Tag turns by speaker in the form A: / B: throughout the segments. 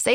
A: Say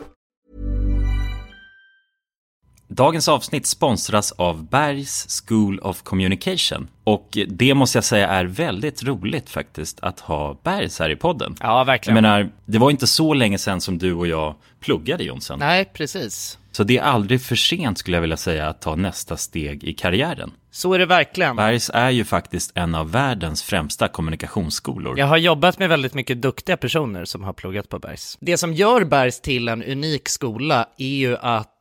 B: Dagens avsnitt sponsras av Bergs School of Communication. Och det måste jag säga är väldigt roligt faktiskt att ha Bergs här i podden.
C: Ja, verkligen.
B: Jag menar, det var inte så länge sedan som du och jag pluggade Jonsson.
C: Nej, precis.
B: Så det är aldrig för sent skulle jag vilja säga att ta nästa steg i karriären.
C: Så är det verkligen.
B: Bergs är ju faktiskt en av världens främsta kommunikationsskolor.
C: Jag har jobbat med väldigt mycket duktiga personer som har pluggat på Bergs. Det som gör Bergs till en unik skola är ju att eh,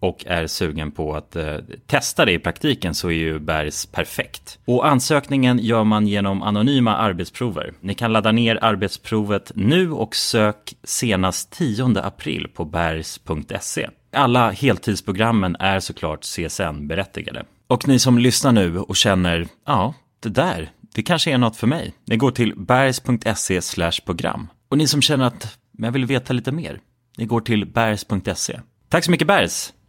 B: och är sugen på att eh, testa det i praktiken så är ju Bergs perfekt. Och ansökningen gör man genom anonyma arbetsprover. Ni kan ladda ner arbetsprovet nu och sök senast 10 april på bergs.se. Alla heltidsprogrammen är såklart CSN-berättigade. Och ni som lyssnar nu och känner, ja, det där, det kanske är något för mig. Ni går till bergs.se program. Och ni som känner att, men jag vill veta lite mer. Ni går till bergs.se. Tack så mycket Bergs!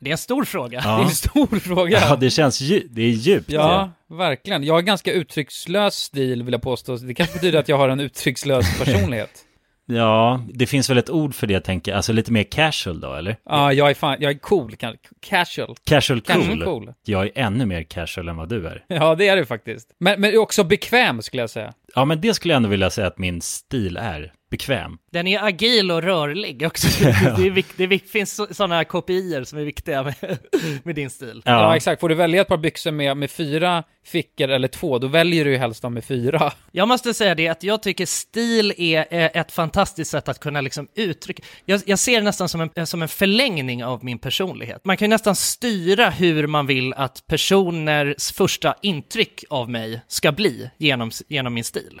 C: Det är en stor fråga.
D: Det är en stor fråga.
B: Ja, det känns dju- det är djupt.
D: Ja, verkligen. Jag har ganska uttryckslös stil vill jag påstå. Det kanske betyder att jag har en uttryckslös personlighet.
B: ja, det finns väl ett ord för det tänker jag, alltså lite mer casual då eller?
D: Ja, jag är fan, jag är cool, kan- casual.
B: Casual cool.
D: Casual cool.
B: Jag är ännu mer casual än vad du är.
D: Ja, det är du faktiskt. Men, men också bekväm skulle jag säga.
B: Ja, men det skulle jag ändå vilja säga att min stil är. Bekväm.
C: Den är agil och rörlig också. Det, är vik- det, är vik- finns sådana kopior som är viktiga med, med din stil.
D: Ja. exakt. Får du välja ett par byxor med, med fyra fickor eller två, då väljer du ju helst de med fyra.
C: Jag måste säga det att jag tycker stil är eh, ett fantastiskt sätt att kunna liksom uttrycka. Jag, jag ser det nästan som en, eh, som en förlängning av min personlighet. Man kan ju nästan styra hur man vill att personers första intryck av mig ska bli genom, s- genom min stil.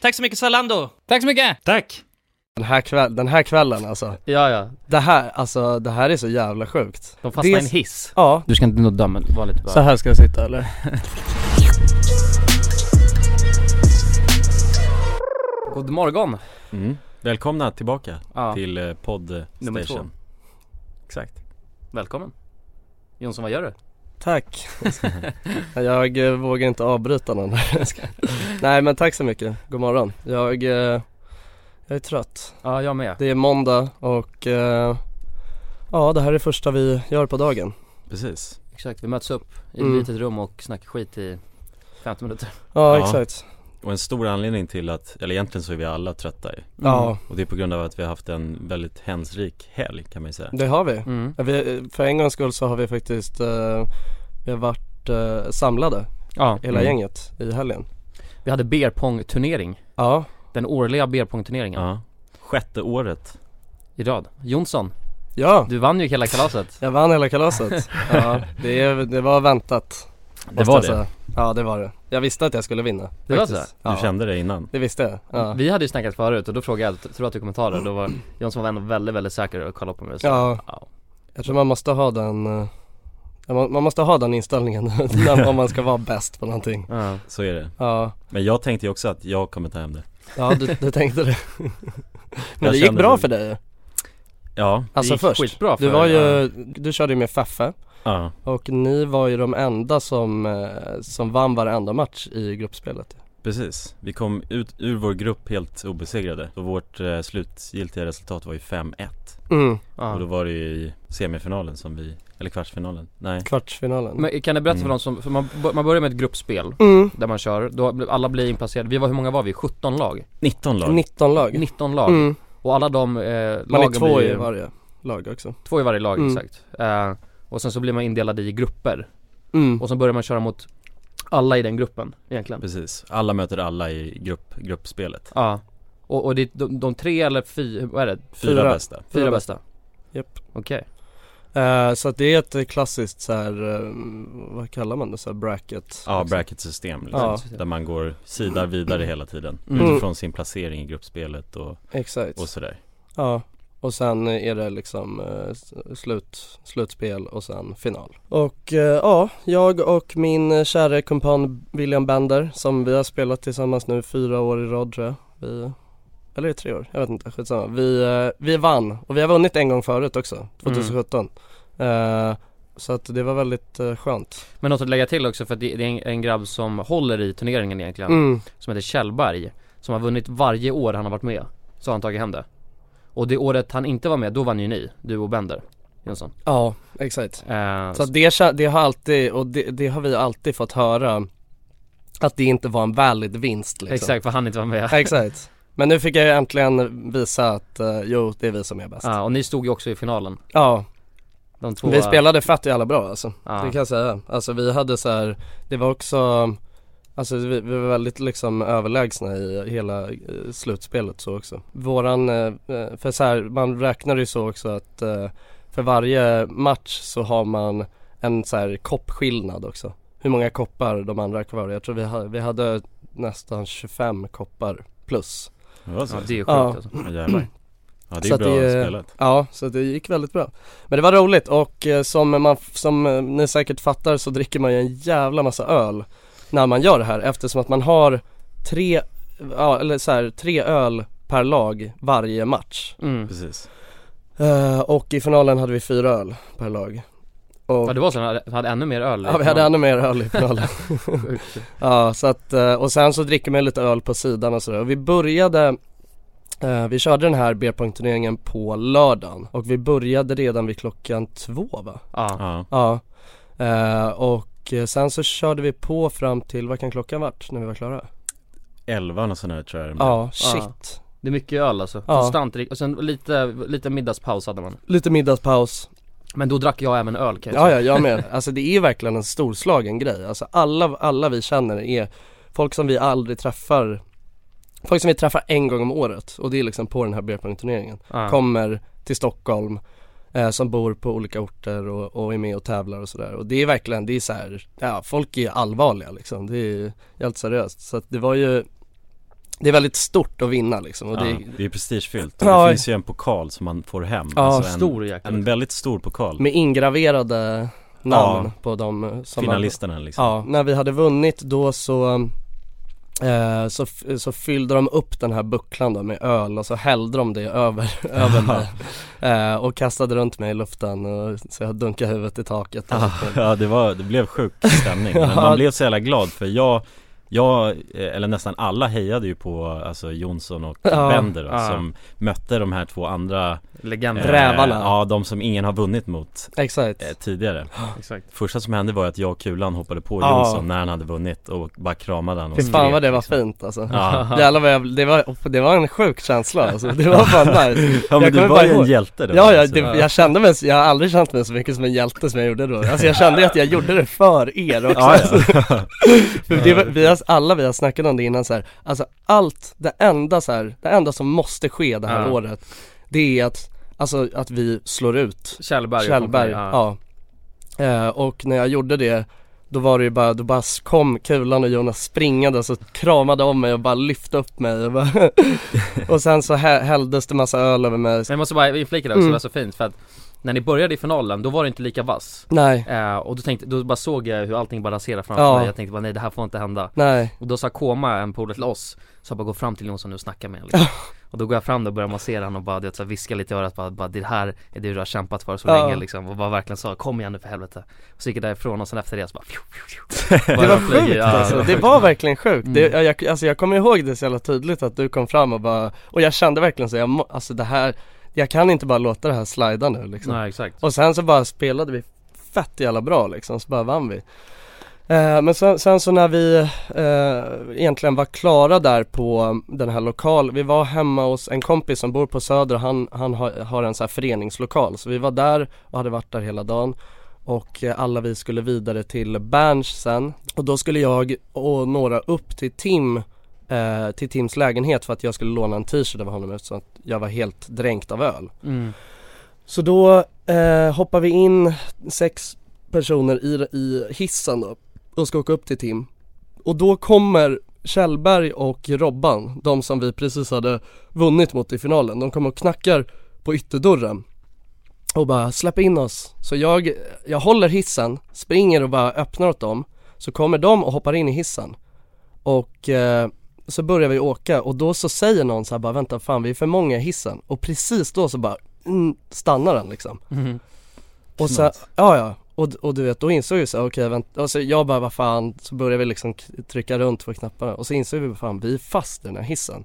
C: Tack så mycket Zalando!
D: Tack så mycket!
B: Tack!
E: Den här, kväll, den här kvällen alltså.
F: Ja, ja.
E: Det här, alltså det här är så jävla sjukt.
F: De fastnar i
E: Det
F: en
E: är-
F: hiss.
E: Ja.
F: Du ska inte nudda, men var lite
E: Så
F: bara...
E: här ska jag sitta eller?
F: God morgon.
B: Mm. Välkomna tillbaka
F: Ja.
B: till eh, Podd
F: Nummer två.
B: Station.
F: Exakt. Välkommen. Jonsson, vad gör du?
E: Tack. Jag eh, vågar inte avbryta någon. Jag ska- Nej men tack så mycket. God morgon. Jag, eh, jag är trött.
D: Ja, jag med.
E: Det är måndag och eh, ja det här är det första vi gör på dagen.
B: Precis.
D: Exakt, vi möts upp i ett
E: Mm.
D: litet rum och snackar skit i 15 minuter.
E: Ja,
G: Ja.
E: exakt.
B: Och en stor anledning till att, eller egentligen så är vi alla trötta ju.
F: Mm.
E: Ja
B: Och det är på grund av att vi har haft en väldigt händelserik helg kan man ju säga.
E: det har vi.
D: Mm.
E: Ja, vi. För en gångs skull så har vi faktiskt, eh, vi har varit eh, samlade
D: Ja,
E: hela
D: Mm.
E: gänget i helgen.
D: Vi hade beer pong turnering
E: Ja,
D: Den årliga beer pong turneringen
B: Ja. Sjätte året.
D: i rad. Jonsson,
E: ja.
D: du vann ju hela kalaset.
E: Jag vann hela kalaset. ja, det, är- det var väntat.
B: Det
E: måste
B: var
E: jag
B: det.
E: säga. Ja det var det. Jag visste att jag skulle vinna.
D: Det var
E: faktiskt.
B: Du
D: så?
E: Ja,
B: kände det innan.
E: det visste jag. Ja.
D: Vi hade ju snackat förut och då frågade jag, tror att du kommentarer? Då var Jonsson var ändå väldigt, väldigt säker och kollade på mig och sa
E: Ja. Jag tror man måste ha den, eh, man man måste ha den inställningen när- om man ska vara bäst på någonting.
D: Ja.
B: Så är det.
E: Ja,
B: Men jag tänkte ju också att jag kommer ta hem det.
E: ja du, du tänkte det. Men
B: Jag
E: det gick
B: kände
E: bra
B: det.
E: för dig ju.
B: Ja.
E: Alltså
D: gick
E: först,
D: skitbra
E: du
D: för-
E: var ju,
D: ja.
E: du körde ju med Feffe
B: Ja.
E: och ni var ju de enda som, eh, som vann varenda match i gruppspelet.
B: Precis. Vi kom ut ur vår grupp helt obesegrade. Och vårt eh, slutgiltiga resultat var ju 5-1.
E: Mm,
D: Ja.
B: Och då var det ju i semifinalen som vi, eller kvartsfinalen. Nej.
E: kvartsfinalen.
D: Men kan du berätta för
B: Mm.
D: någon som, för man, bör- man börjar med ett gruppspel
E: Mm,
D: där man kör, då blir- alla blir inplacerade, vi var, hur många var vi? 17 lag?
B: 19 lag.
E: 19 lag.
D: 19 lag,
E: Mm.
D: och alla de eh,
E: Man är
D: lagen
E: två
D: blir ju-
E: i varje lag också.
D: två i varje lag
E: Mm.
D: exakt eh, Och sen så blir man indelad i grupper,
E: Mm.
D: och så börjar man köra mot alla i den gruppen egentligen
B: Precis. Alla möter alla i grupp, gruppspelet.
D: Ja Och, och det är de, de tre eller fyra, vad är det? Fyra,
B: Fyra
E: Fyra.
B: bästa.
E: Fyra
D: bästa?
E: Japp.
D: Okej,
E: Eh, så att det är ett eh, klassiskt så här, eh, vad kallar man det, så här bracket? Liksom.
B: Ja, bracketsystem liksom.
E: Ja.
B: Där man går sidar vidare hela tiden.
D: Mm.
B: Utifrån sin placering i gruppspelet och,
E: Exakt.
B: och sådär.
E: Ja, och sen är det liksom eh, s- slut, slutspel och sen final. Och eh, ja, jag och min eh, kära kumpan William Bender som vi har spelat tillsammans nu fyra år i rad tror jag. Vi, eller är det tre år? Jag vet inte, skitsamma. Vi, eh, vi vann och vi har vunnit en gång förut också, 2017.
B: Mm.
E: Eh, så att det var väldigt eh, skönt.
D: men något att lägga till också för att det, det är en, en grabb som håller i turneringen egentligen
E: Mm.
D: som heter Kjellberg Som har vunnit varje år han har varit med Så har han tagit hem det Och det året han inte var med, då vann ju ni, du och Bender Jonsson
E: Ja, exakt.
D: eh,
E: Så att det, kä- det har alltid, och det, det har vi alltid fått höra att det inte var en valid vinst liksom.
D: Exakt, för han inte var med
E: Ja, Exakt. Men nu fick jag ju äntligen visa att eh, jo, det är vi som är bäst. Ja,
D: Ja, och ni stod ju också i finalen De två
E: vi spelade fett jävla bra alltså.
D: Ja.
E: Det kan jag säga. Alltså vi hade så här, det var också, alltså vi, vi var väldigt liksom överlägsna i hela eh, slutspelet så också. Våran, eh, eh, för så här, man räknar ju så också att eh, för varje match så har man en så här koppskillnad också. Hur många koppar de andra har kvar. Jag tror vi, ha, vi hade nästan 25 koppar plus.
B: Det var så.
D: Ja, det är ju sjukt
E: Ja.
D: alltså.
B: Ja, jävlar. Ja, det
E: Så
B: är
E: att
B: bra
E: det är-
B: spelat.
E: Ja, så det gick väldigt bra. Men det var roligt och eh, som, man, som eh, ni säkert fattar så dricker man ju en jävla massa öl när man gör det här eftersom att man har tre, ja, eller så här, tre öl per lag varje match.
D: Mm.
B: Precis.
E: Eh, och i finalen hade vi fyra öl per lag. Och,
D: Ja det var så, han hade- hade ännu mer öl i
E: ja, vi hade
D: finalen.
E: ännu mer öl i finalen.
D: Sjukt.
E: Ja, så att, eh, och sen så dricker man lite öl på sidan och sådär. Och vi började, eh, vi körde den här B-poängturneringen på lördagen och vi började redan vid klockan två va?
D: Ja,
B: Ja.
E: Ja. Eh, och eh, sen så körde vi på fram till, vad kan klockan vart när vi var klara?
B: Elvan och sån här tror jag det är.
E: Ja, shit.
D: det är mycket öl alltså,
E: Ja.
D: konstant drick- och sen lite, lite middagspaus hade man
E: Lite middagspaus.
D: Men då drack jag även öl kan jag
E: Ja,
D: säga
E: ja, jag med. Alltså det är ju verkligen en storslagen grej. Alltså alla, alla vi känner är folk som vi aldrig träffar, folk som vi träffar en gång om året och det är liksom på den här B-poängturneringen.
D: ja.
E: kommer till Stockholm eh, som bor på olika orter och, och är med och tävlar och sådär och det är verkligen, det är så här, ja folk är allvarliga liksom, det är helt seriöst så att det var ju det är väldigt stort att vinna liksom och
B: Ja,
E: det
B: det är prestigefyllt.
E: Ja.
B: Det finns ju en pokal som man får hem. Alltså
E: Ja,
B: en,
D: stor jäkla
B: En väldigt stor pokal.
E: med ingraverade namn
B: Ja.
E: på de som var-
B: Finalisterna liksom.
E: Ja, när vi hade vunnit då så Eh, så, f- så fyllde de upp den här bucklan då med öl och så hällde de det över, över mig eh, och kastade runt mig i luften och, så jag dunkade huvudet i taket.
B: Ah, ja det var, det blev sjuk stämning Men
E: Alltså, Ja.
B: man blev så jävla glad för jag jag, eh, eller nästan alla hejade ju på alltså Jonsson och
E: Ja.
B: Bender då,
D: Ja.
B: som mötte de här två andra
D: Legender.
B: eh,
E: Rävarna.
B: Ja, de som ingen har vunnit mot
E: Exakt.
B: eh, tidigare
D: Exakt.
B: Första som hände var att jag och Kulan hoppade på
E: Ja.
B: Jonsson när han hade vunnit och bara kramade han och
E: Fy fan
B: skrek,
E: vad det var
B: liksom.
E: fint alltså.
B: Ja,
E: Jävlar vad jag, det var, det var en sjuk känsla alltså. Det var fan
B: ja
E: nice. Jag
B: men
E: kommer
B: du
E: bara
B: var ju en
E: ihåg-
B: hjälte då
E: Ja, ja
B: alltså.
E: det, jag kände mig, så- jag har aldrig känt mig så mycket som en hjälte som jag gjorde då. Alltså jag kände ju att jag gjorde det för er också. Alltså.
B: Ja, ja.
E: För det, var- vi har, alla vi har snackat om det innan så här. alltså allt, det enda så här, det enda som måste ske det här
D: Ja.
E: året, det är att, alltså att vi slår ut
D: Kjellberg och
E: Kjellberg,
D: kompani,
E: ja. Eh, och när jag gjorde det, då var det ju bara, då bara kom Kulan och Jonas springande så kramade om mig och bara lyfte upp mig och, bara och sen så hä- hälldes det massa öl över mig.
D: Men jag måste bara inflika det också,
E: Mm.
D: det var så fint för att när ni började i finalen, då var det inte lika vass.
E: Nej,
D: Eh, och då tänkte, då bara såg jag hur allting bara raserade framför
E: Ja.
D: mig, jag tänkte bara nej det här får inte hända.
E: nej,
D: Och då sa Koma, en polare till oss, så jag bara gå fram till Jonsson nu och snacka med honom liksom. Och då går jag fram där och börjar massera honom och bara du vet, så här, viska lite i örat bara, bara det här är det du har kämpat för så
E: Ja.
D: länge liksom Och bara verkligen sa kom igen nu för helvete Och så gick jag därifrån och sen efter det så bara fju, fju, fju.
E: det
D: Bara
E: var
D: flyger,
E: sjukt
D: ja.
E: alltså, det var verkligen sjukt. Det, jag- jag, alltså jag kommer ihåg det så jävla tydligt att du kom fram och bara, och jag kände verkligen så, jag må, alltså det här, jag kan inte bara låta det här slida nu liksom.
D: Nej exakt
E: Och sen så bara spelade vi fett jävla bra liksom, så bara vann vi. Eh, men sen, sen så när vi eh, egentligen var klara där på den här lokal, vi var hemma hos en kompis som bor på Söder och han, han har, har en så här föreningslokal. Så vi var där och hade varit där hela dagen och eh, alla vi skulle vidare till Berns sen. Och då skulle jag och några upp till Tim eh, till Tims lägenhet för att jag skulle låna en t-shirt av honom eftersom att jag var helt dränkt av öl.
D: mm.
E: Så då eh, hoppar vi in sex personer i, i hissen då och ska åka upp till Tim. Och då kommer Kjellberg och Robban, de som vi precis hade vunnit mot i finalen, de kommer och knackar på ytterdörren och bara släpp in oss. Så jag, jag håller hissen, springer och bara öppnar åt dem. Så kommer de och hoppar in i hissen. Och eh, så börjar vi åka och då så säger någon så här bara vänta fan vi är för många i hissen. Och precis då så bara mm, stannar den liksom. Och så, ja ja. Och, och du vet då insåg vi så här, okej vänta, och så jag bara vad fan, så började vi liksom k- trycka runt på knapparna och så insåg vi vad fan vi är fast i den här hissen.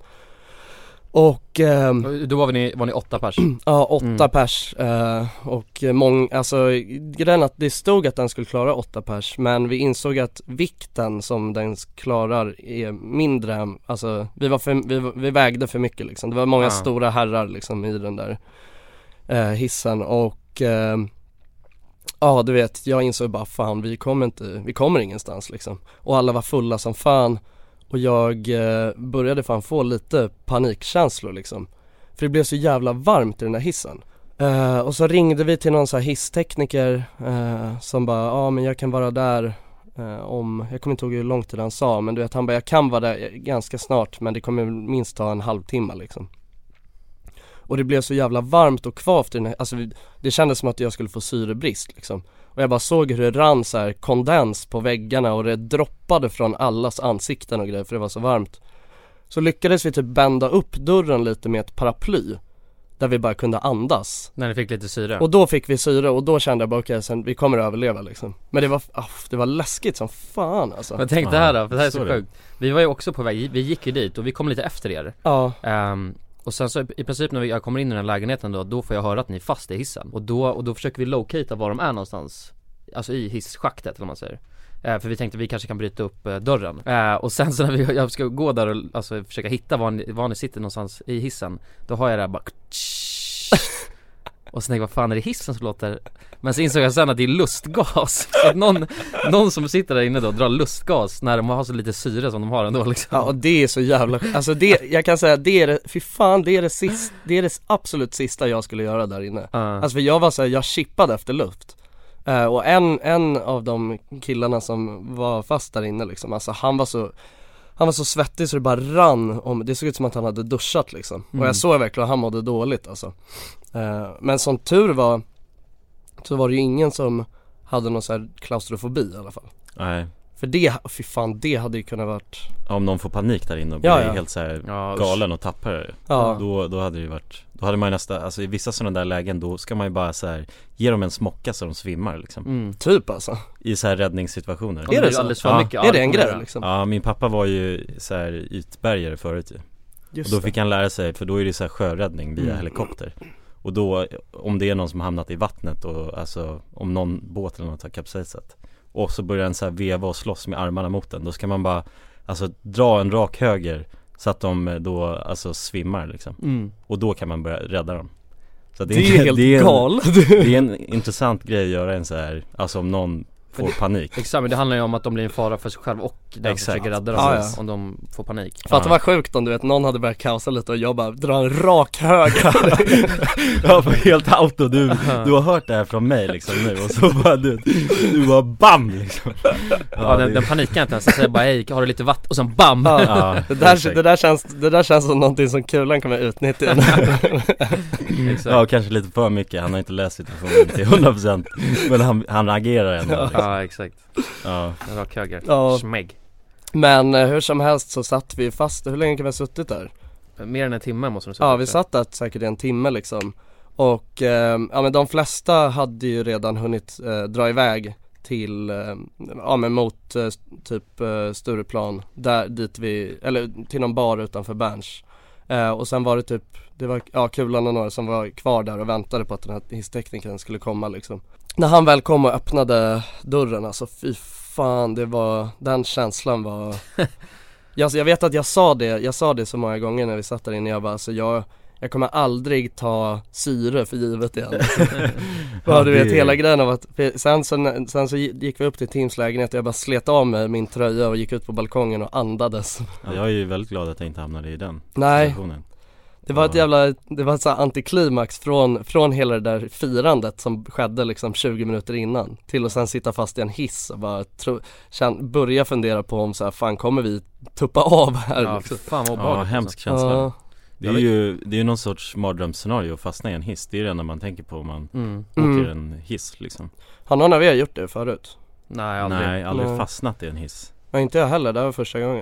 E: Och ehm,
D: Och Då var ni, var ni åtta pers?
E: Ja, åtta
D: Mm.
E: pers eh, och många, alltså grejen att det stod att den skulle klara åtta pers men vi insåg att vikten som den klarar är mindre, än- alltså vi var för, vi, var- vi vägde för mycket liksom. Det var många
D: Ah.
E: stora herrar liksom i den där eh, hissen och eh, ja du vet, jag insåg bara fan vi kommer inte, vi kommer ingenstans liksom. Och alla var fulla som fan och jag eh, började fan få lite panikkänslor liksom. För det blev så jävla varmt i den där hissen. Eh, och så ringde vi till någon så här hisstekniker eh, som bara, ja ah, men jag kan vara där eh, om, jag kommer inte ihåg hur lång tid han sa men du vet han bara, jag kan vara där eh, ganska snart men det kommer minst ta en halvtimme liksom. Och det blev så jävla varmt och kvavt i den här, alltså vi- det kändes som att jag skulle få syrebrist liksom. Och jag bara såg hur det rann så här kondens på väggarna och det droppade från allas ansikten och grejer för det var så varmt. Så lyckades vi typ bända upp dörren lite med ett paraply. Där vi bara kunde andas.
D: När ni fick lite syre?
E: Och då fick vi syre och då kände jag bara okej, sen vi kommer att överleva liksom. Men det var, aff, det var läskigt som fan alltså.
D: Men tänk det här då, för det här är
B: Så
D: så
B: är det.
D: sjukt Vi var ju också på väg, vi gick ju dit och vi kom lite efter er
E: Ja,
D: Ehm, och sen så i- i princip när vi- jag kommer in i den här lägenheten då, då får jag höra att ni är fast i hissen. Och då, och då försöker vi locata var de är någonstans. Alltså i hisschaktet eller vad man säger. Eh, för vi tänkte vi kanske kan bryta upp eh, dörren. Eh, och sen så när vi, jag ska gå där och alltså, försöka hitta var ni, var ni sitter någonstans i hissen. Då har jag det här bara och sen tänkte jag, vad fan är det hissen som låter? Men så insåg jag sen att det är lustgas. Så att någon, någon som sitter där inne då drar lustgas när de har så lite syre som de har ändå liksom.
E: ja och det är så jävla, alltså det, jag kan säga det är det, fy fan det är det sist, det är det absolut sista jag skulle göra där inne.
D: Ja.
E: Alltså för jag var såhär, jag chippade efter luft. Eh, och en, en av de killarna som var fast där inne liksom, alltså han var så han var så svettig så det bara rann om, det såg ut som att han hade duschat liksom. Och jag såg verkligen att han mådde dåligt alltså. Eh, men som tur var, så var det ju ingen som hade någon så här klaustrofobi i alla fall.
B: Nej
E: För det, fy fan det hade ju kunnat varit
B: Ja, om någon får panik där inne och blir
E: Ja, ja.
B: helt så här
D: Ja, usch.
B: galen och tappar det
E: Ja.
B: då, då hade det ju varit Då hade man ju nästan, alltså i vissa sådana där lägen då ska man ju bara så här Ge dem en smocka så de svimmar liksom
E: typ alltså
B: I så här räddningssituationer
E: Är det
D: blir
E: så?
D: alldeles för
B: Ja.
D: mycket
E: Är det en
D: arg.
E: grej liksom?
B: Ja, min pappa var ju så här ytbärgare förut ju Och
E: Just Mm.
B: då fick han lära sig, för då är det så här sjöräddning via helikopter Och då, om det är någon som hamnat i vattnet och alltså om någon båt eller något har kapsejsat Och så börjar den så här veva och slåss med armarna mot den Då ska man bara Alltså dra en rak höger Så att de eh, då alltså svimmar liksom Och då kan man börja rädda dem så att
E: Mm. det, är ju helt
B: det är en,
E: galet
B: Det är en intressant grej att göra en så här Alltså om någon får panik
D: Exakt, men det handlar ju om att de blir en fara för sig själv och den som
B: Exakt.
D: försöker rädda dem
E: Ja, ja.
D: om de får panik
E: Fatta vad sjukt om du vet, någon hade börjat kaosa lite och jag bara drar en rak höger
B: Ja för helt auto, du, du har hört det här från mig liksom nu och så bara du, du bara BAM liksom
D: Ja, den, den panikar inte ens, den säger bara hej, har du lite vatten? Och sen BAM!
B: ja,
E: det, där,
B: exakt.
E: det, där känns, det där känns som någonting som kulan kommer utnyttja
D: Exakt.
B: Ja kanske lite för mycket, han har inte läst situationen till 100% Men han, han agerar ändå liksom.
D: Ja exakt,
B: ja.
D: en rak höger,
E: Ja.
D: smägg
E: Men eh, hur som helst så satt vi fast, hur länge kan vi ha suttit där?
D: Mer än en timme måste de säga
E: Ja vi satt där säkert i en timme liksom Och eh, ja men de flesta hade ju redan hunnit eh, dra iväg till, eh, ja men mot eh, typ eh, Stureplan där dit vi, eller till någon bar utanför Berns eh, Och sen var det typ, det var, ja Kulan och några som var kvar där och väntade på att den här hissteknikern skulle komma liksom När han väl kom och öppnade dörren alltså fy fan det var, den känslan var jag, jag vet att jag sa det, jag sa det så många gånger när vi satt där inne, jag bara alltså jag jag kommer aldrig ta syre för givet igen. ja, du
B: Ja,
E: vet
B: det-
E: hela grejen av att, för sen, så, sen så gick vi upp till Tims lägenhet och jag bara slet av mig min tröja och gick ut på balkongen och andades.
B: Ja, Jag är ju väldigt glad att jag inte hamnade i den
E: Nej,
B: situationen
E: det var ett
B: Ja.
E: jävla, det var ett så här antiklimax från, från hela det där firandet som skedde liksom 20 minuter innan. Till att sen sitta fast i en hiss och bara tro, känn, börja fundera på om så här, fan kommer vi tuppa av här?
D: Ja,
E: liksom?
D: fan vad
B: Ja,
D: obehagligt
B: hemsk känsla
E: Ja,
B: Det är ju, det är ju någon sorts mardrömsscenario att fastna i en hiss Det är det enda man tänker på om man
D: mm.
B: åker
E: Mm.
B: en hiss liksom
E: Har någon av er gjort det förut?
D: alltså. Nej aldrig
B: Nej, aldrig
E: Nej.
B: fastnat i en hiss
E: Nej inte jag heller, det här var första gången.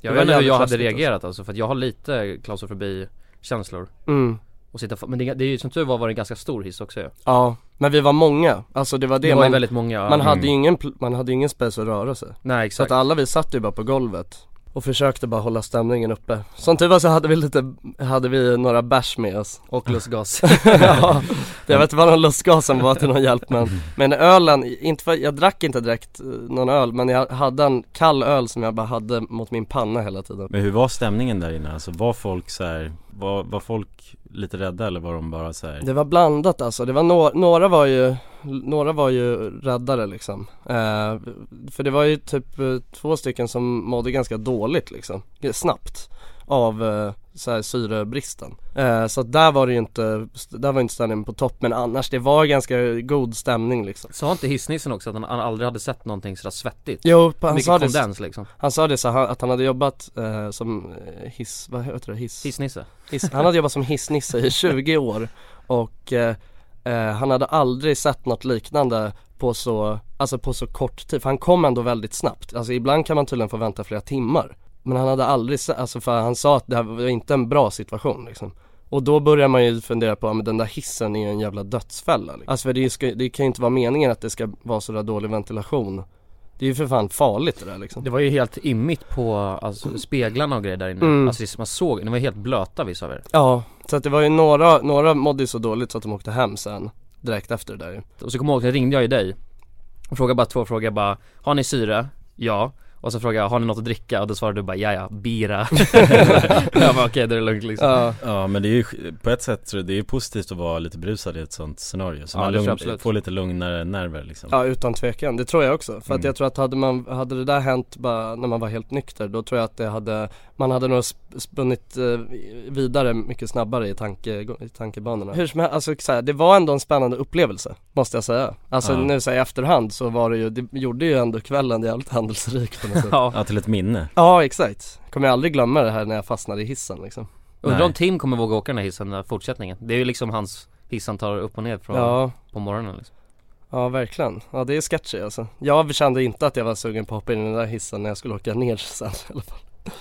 D: Jag
E: Det
D: vet inte hur
E: var jävligt
D: jag hade
E: läskigt, alltså.
D: reagerat alltså, för att jag har lite klaustrofobi känslor
E: Mm.
D: och sitta fa- Men det, det är ju som tur var var det en ganska stor hiss också ju.
E: Ja, men vi var många, alltså det var det,
D: Det var ju
E: man,
D: väldigt många Mm.
E: man, hade ju ingen, pl- man hade ju ingen space att röra sig
D: Nej
E: Så att
D: exakt
E: alla vi satt ju bara på golvet och försökte bara hålla stämningen uppe Som tur var så hade vi lite, hade vi några bärs med oss
D: Och lustgas
E: ja, Jag vet inte vad någon lustgas som var till någon hjälp men, men ölen, inte för, jag drack inte direkt eh, någon öl men jag hade en kall öl som jag bara hade mot min panna hela tiden
B: Men hur var stämningen där inne? Alltså var folk så här, var, var folk lite rädda eller var de bara så här?
E: Det var blandat alltså, det var no- några var ju, några var ju räddare liksom. Eh, för det var ju typ eh, två stycken som mådde ganska dåligt liksom, g- snabbt av eh, så här syrebristen. Eh, så att där var det ju inte, där var inte stämningen på topp men annars det var ganska god stämning liksom.
D: Sa inte hissnissen också att han, han aldrig hade sett någonting sådär svettigt?
E: Jo, han
D: Mycket
E: sa, det,
D: kondens liksom
E: han sa det så här, att han hade jobbat eh, som eh, hiss, vad heter det, hiss?
D: Hissnisse
E: Hiss, han hade jobbat som hissnisse i 20 år och eh, eh, han hade aldrig sett något liknande på så, alltså på så kort tid. För han kom ändå väldigt snabbt. Alltså ibland kan man tydligen få vänta flera timmar. Men han hade aldrig sett, alltså för han sa att det här var inte en bra situation liksom. Och då börjar man ju fundera på, ja, men den där hissen är ju en jävla dödsfälla. Liksom. Alltså för det, är ju ska, det kan ju inte vara meningen att det ska vara sådär dålig ventilation. Det är ju för fan farligt det där liksom.
D: Det var ju helt immigt på alltså, speglarna och grejer där inne
E: Mm.
D: Alltså det- man såg, de var helt blöta vissa av er
E: Ja, så att det var ju några, några mådde ju så dåligt så att de åkte hem sen. Direkt efter det där ju.
D: Och så kommer jag ihåg, sen ringde jag ju dig och frågade bara två frågor, jag bara Har ni syre? Ja Och så frågade jag, har ni något att dricka? Och då svarade du bara, ja ja, bira Jag bara okej, då är det lugnt liksom
E: Ja.
B: Ja men det är ju, sk- på ett sätt tror jag det är positivt att vara lite brusad i ett sånt scenario Så
D: Ja,
B: man
D: det tror jag
B: lugn,
D: absolut.
B: får lite lugnare nerver liksom
E: Ja utan tvekan, det tror jag också. För att
B: Mm.
E: jag tror att hade, man, hade det där hänt bara när man var helt nykter då tror jag att det hade, man hade nog sp- spunnit eh, vidare mycket snabbare i, tanke, i tankebanorna. Hur som helst, alltså så här, det var ändå en spännande upplevelse måste jag säga. Alltså
B: Ja.
E: nu så här, i efterhand så var det ju, det gjorde ju ändå kvällen jävligt händelserik på något sätt.
D: Ja,
B: Ja till ett minne
E: ja exakt, kommer jag aldrig glömma det här när jag fastnade i hissen liksom.
D: undrar
B: Nej.
D: om Tim kommer våga åka den här hissen, den här fortsättningen Det är ju liksom hans hiss han tar upp och ner från,
E: Ja.
D: på morgonen liksom
E: Ja verkligen, ja det är sketchy alltså. Jag kände inte att jag var sugen på att hoppa in i den där hissen när jag skulle åka ner sen i alla fall.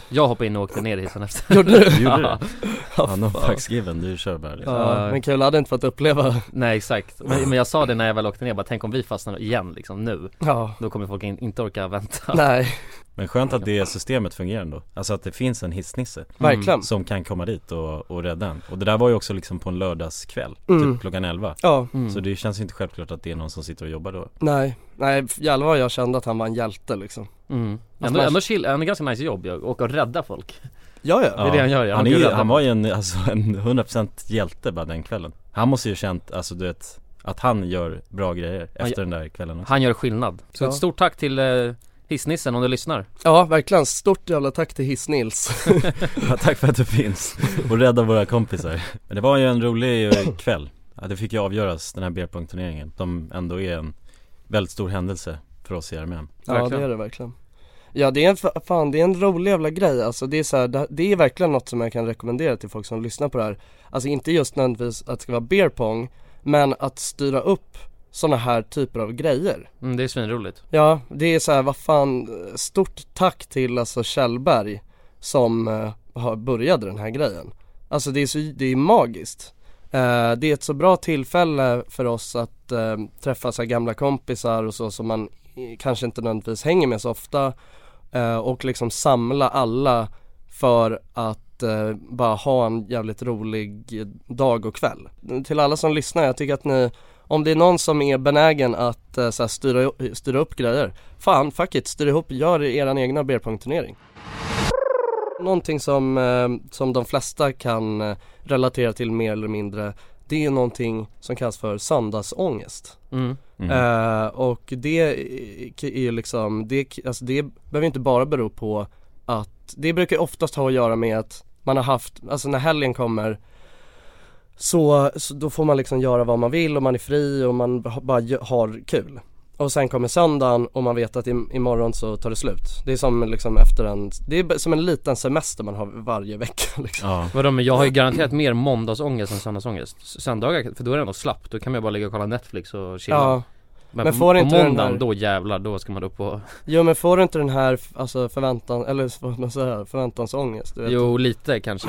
D: Jag hoppade in och åkte ner i hissen efter
E: Gjorde du?
B: Gjorde
D: Ja.
B: du? Ja, no fucks given, du kör bara liksom.
E: Ja, men kul, hade inte fått uppleva
D: Nej exakt, men, men jag sa det när jag väl åkte ner bara tänk om vi fastnar igen liksom nu
E: Ja,
D: Då kommer folk in, inte orka vänta
E: nej,
B: Men skönt att det systemet fungerar ändå Alltså att det finns en hissnisse
D: Mm.
E: verkligen
B: Som kan komma dit och, och rädda en Och det där var ju också liksom på en lördagskväll
E: Mm.
B: Typ klockan 11
E: Ja,
D: Mm.
B: Så det känns ju inte självklart att det är någon som sitter och jobbar då
E: nej, nej jävlar vad jag kände att han var en hjälte liksom
D: mm. ändå, ändå chill, ändå ganska nice jobb ju, och att rädda folk
E: Ja ja,
D: Det är det han gör ja,
B: Han, är,
D: kan
B: ju-
D: rädda.
B: han var ju en, alltså en 100% hjälte bara den kvällen Han måste ju känt, alltså du vet Att han gör bra grejer efter den där kvällen också.
D: han gör skillnad Så
E: Ja.
D: ett stort tack till eh, hissnissen om du lyssnar
E: ja verkligen, stort jävla tack till Hiss-Nils
B: Ja, Tack för att du finns och rädda våra kompisar Men det var ju en rolig eh, kväll ja, Det fick ju avgöras den här beerpong-turneringen Som ändå är en väldigt stor händelse för oss i armén
E: Ja
D: Verkligen.
E: det är det verkligen Ja det är en, fa- fan det är en rolig jävla grej alltså det är så här, det, det är verkligen något som jag kan rekommendera till folk som lyssnar på det här Alltså inte just nödvändigtvis att det ska vara beer pong Men att styra upp sådana här typer av grejer
D: mm, Det är svinroligt
E: Ja det är så här, vad fan, stort tack till alltså Kjellberg Som eh, har- började den här grejen Alltså det är så, det är magiskt Eh, Det är ett så bra tillfälle för oss att eh, träffa så här gamla kompisar och så som man eh, kanske inte nödvändigtvis hänger med så ofta eh, och liksom samla alla för att eh, bara ha en jävligt rolig dag och kväll. Till alla som lyssnar, jag tycker att ni, om det är någon som är benägen att eh, så här, styra, styra upp grejer, fan fuck it, styr ihop, gör er egna beerpong-turnering. Någonting som, eh, som de flesta kan eh, relatera till mer eller mindre, det är någonting som kallas för söndagsångest.
D: mm.
E: Eh, och det eh, är ju liksom, det, alltså det behöver inte bara bero på att, det brukar ju oftast ha att göra med att man har haft, alltså när helgen kommer så, så då får man liksom göra vad man vill och man är fri och man ha- bara gö- har kul. Och sen kommer söndagen och man vet att im- imorgon så tar det slut. Det är som liksom efter en, det är b- som en liten semester man har varje vecka liksom.
B: Ja,
D: Vadå men jag har ju garanterat mer måndagsångest än söndagsångest S- Söndagar, för då är det ändå slappt, då kan man ju bara ligga och kolla Netflix och chilla
E: Ja,
D: Men,
E: men
D: på,
E: får
D: på
E: inte den
D: måndagen,
E: här-
D: då jävlar, då ska man upp och
E: jo men får du inte den här f- alltså förväntan, eller vad man säger, förväntansångest? Du vet,
D: Jo lite kanske,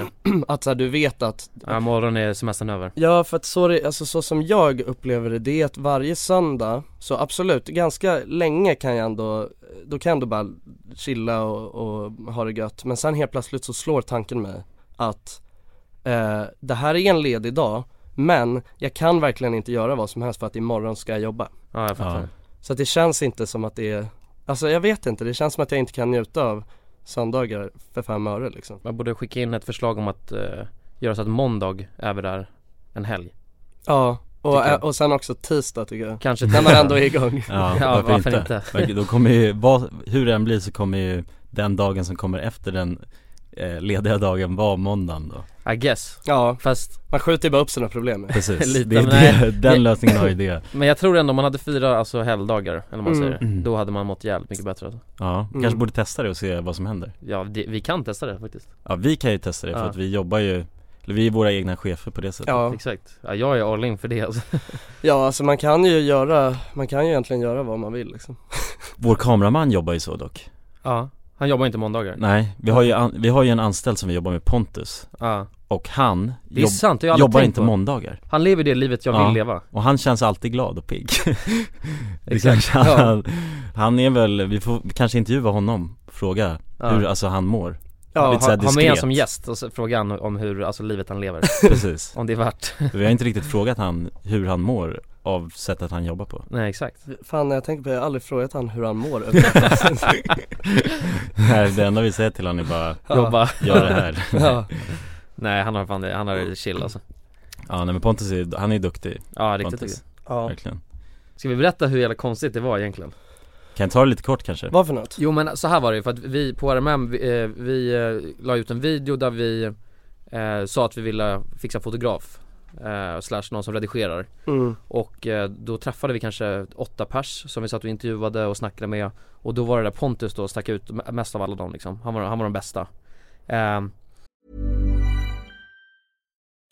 E: Att så här, du vet att
D: ja, morgon är semestern över
E: Ja för att så, det- alltså, så som jag upplever det, det är att varje söndag, så absolut, ganska länge kan jag ändå, då kan jag ändå bara chilla och, och ha det gött. Men sen helt plötsligt så slår tanken mig att eh, det här är en ledig dag, men jag kan verkligen inte göra vad som helst för att imorgon ska jag jobba.
D: Ja jag fattar
B: Ja.
E: Så att det känns inte som att det är, alltså jag vet inte, det känns som att jag inte kan njuta av söndagar för fem öre liksom.
D: Man borde skicka in ett förslag om att eh, göra så att måndag är vi där en helg
E: Ja, och,
D: Tycker jag.
E: och sen också tisdag tycker jag.
D: Kanske
E: När man ändå är igång.
B: ja,
D: Ja,
B: varför,
D: varför
B: inte?
D: inte?
B: Men Då kommer ju, vad, hur det än blir så kommer ju den dagen som kommer efter den eh, lediga dagen vara måndagen då
D: I guess
E: Ja,
D: Fast,
E: man skjuter bara upp sina problem.
B: Precis,
D: Lite,
B: det, är
D: men
B: det,
D: nej.
B: den lösningen har ju det
D: men jag tror ändå om man hade fyra alltså helgdagar eller vad man
E: Mm.
D: säger Då hade man mått jävligt mycket bättre alltså.
B: Ja, kanske borde testa det och se vad som händer
D: Ja det, vi kan testa det faktiskt
B: Ja, vi kan ju testa det för
D: Ja.
B: att vi jobbar ju eller vi är våra egna chefer på det sättet
E: Ja,
D: Exakt, ja, jag är all in för det alltså.
E: ja alltså man kan ju göra, man kan ju egentligen göra vad man vill liksom.
B: Vår kameraman jobbar ju så dock
D: Ja, han jobbar inte måndagar
B: Nej, vi har ju, an, vi har ju en anställd som vi jobbar med, Pontus
D: Ja,
B: Och han
D: det är
B: jobb,
D: sant, det har jag aldrig
B: jobbar
D: tänkt
B: inte
D: på.
B: måndagar
D: Han lever det livet jag
B: Ja.
D: vill leva
B: Och han känns alltid glad och pigg Det kanske han, han är väl, vi får kanske intervjua honom Fråga
D: Ja.
B: hur, alltså han mår
E: Ja,
B: Lite
D: ha,
B: såhär
D: ha med en
B: diskret,
D: som gäst och så frågar han om hur, alltså livet han lever
B: precis
D: Om det är värt
B: Vi har inte riktigt frågat han hur han mår av sättet han jobbar på
D: Nej exakt
E: Fan när jag tänker på det, jag har aldrig frågat han hur han mår
B: Nej, det enda vi säger till han är bara
D: Jobba
B: Gör det här
E: ja.
D: Nej han har fan det, han har det chill alltså
B: Ja nej men Pontus är, han är duktig,
D: Ja
B: Pontus.
D: riktigt duktig.
E: ja,
B: verkligen
D: Ska vi berätta hur jävla konstigt det var egentligen?
B: Kan jag ta det lite kort kanske?
E: vad för något?
D: Jo men så här var det ju, för att vi på RMM, vi, eh, vi eh, la ut en video där vi eh, sa att vi ville fixa fotograf eh, Slash någon som redigerar
E: Mm.
D: Och eh, då träffade vi kanske åtta pers som vi satt och intervjuade och snackade med Och då var det där Pontus då stack ut m- mest av alla dem liksom, han var, han var den bästa Ehm,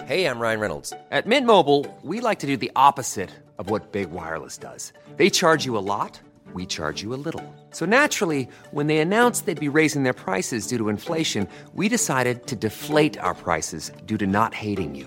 H: Hey, I'm Ryan Reynolds. At Mint Mobile, we like to do the opposite of what Big Wireless does. They charge you a lot, we charge you a little. So naturally, when they announced they'd be raising their prices due to inflation, we decided to deflate our prices due to not hating you.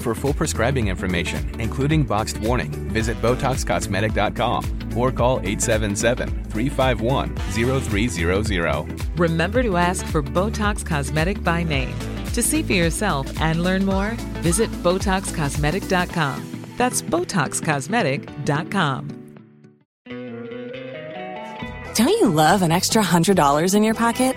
I: For full prescribing information, including boxed warning, visit BotoxCosmetic.com or call 877-351-0300.
J: Remember to ask for Botox Cosmetic by name. To see for yourself and learn more, visit BotoxCosmetic.com. That's BotoxCosmetic.com.
K: Don't you love an extra $100 in your pocket?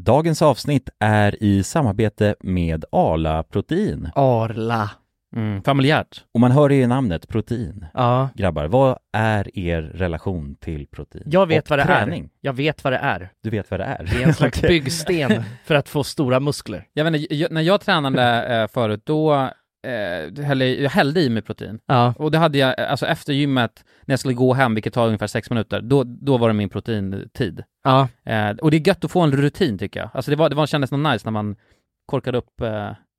G: Dagens avsnitt är i samarbete med Arla Protein.
C: Arla.
G: Mm, familjärt. Och man hör det i namnet, protein.
C: Ja.
G: Grabbar, vad är er relation till protein?
C: Jag vet
G: Och
C: vad det
G: träning?
C: är. Jag vet vad det är.
G: Du vet vad det är?
C: Det är en slags
G: Okej.
C: byggsten för att få stora muskler.
L: Jag vet inte, jag, när jag tränade eh, förut, då eh, hällde jag hällde i mig protein.
C: Ja.
L: Och det hade jag, eh, alltså efter gymmet, när jag skulle gå hem, vilket tar ungefär sex minuter, då, då var det min proteintid.
C: Ja.
L: Eh, och det är gött att få en rutin tycker jag. Alltså det, var, det var, kändes nog nice när man korkade upp... Eh...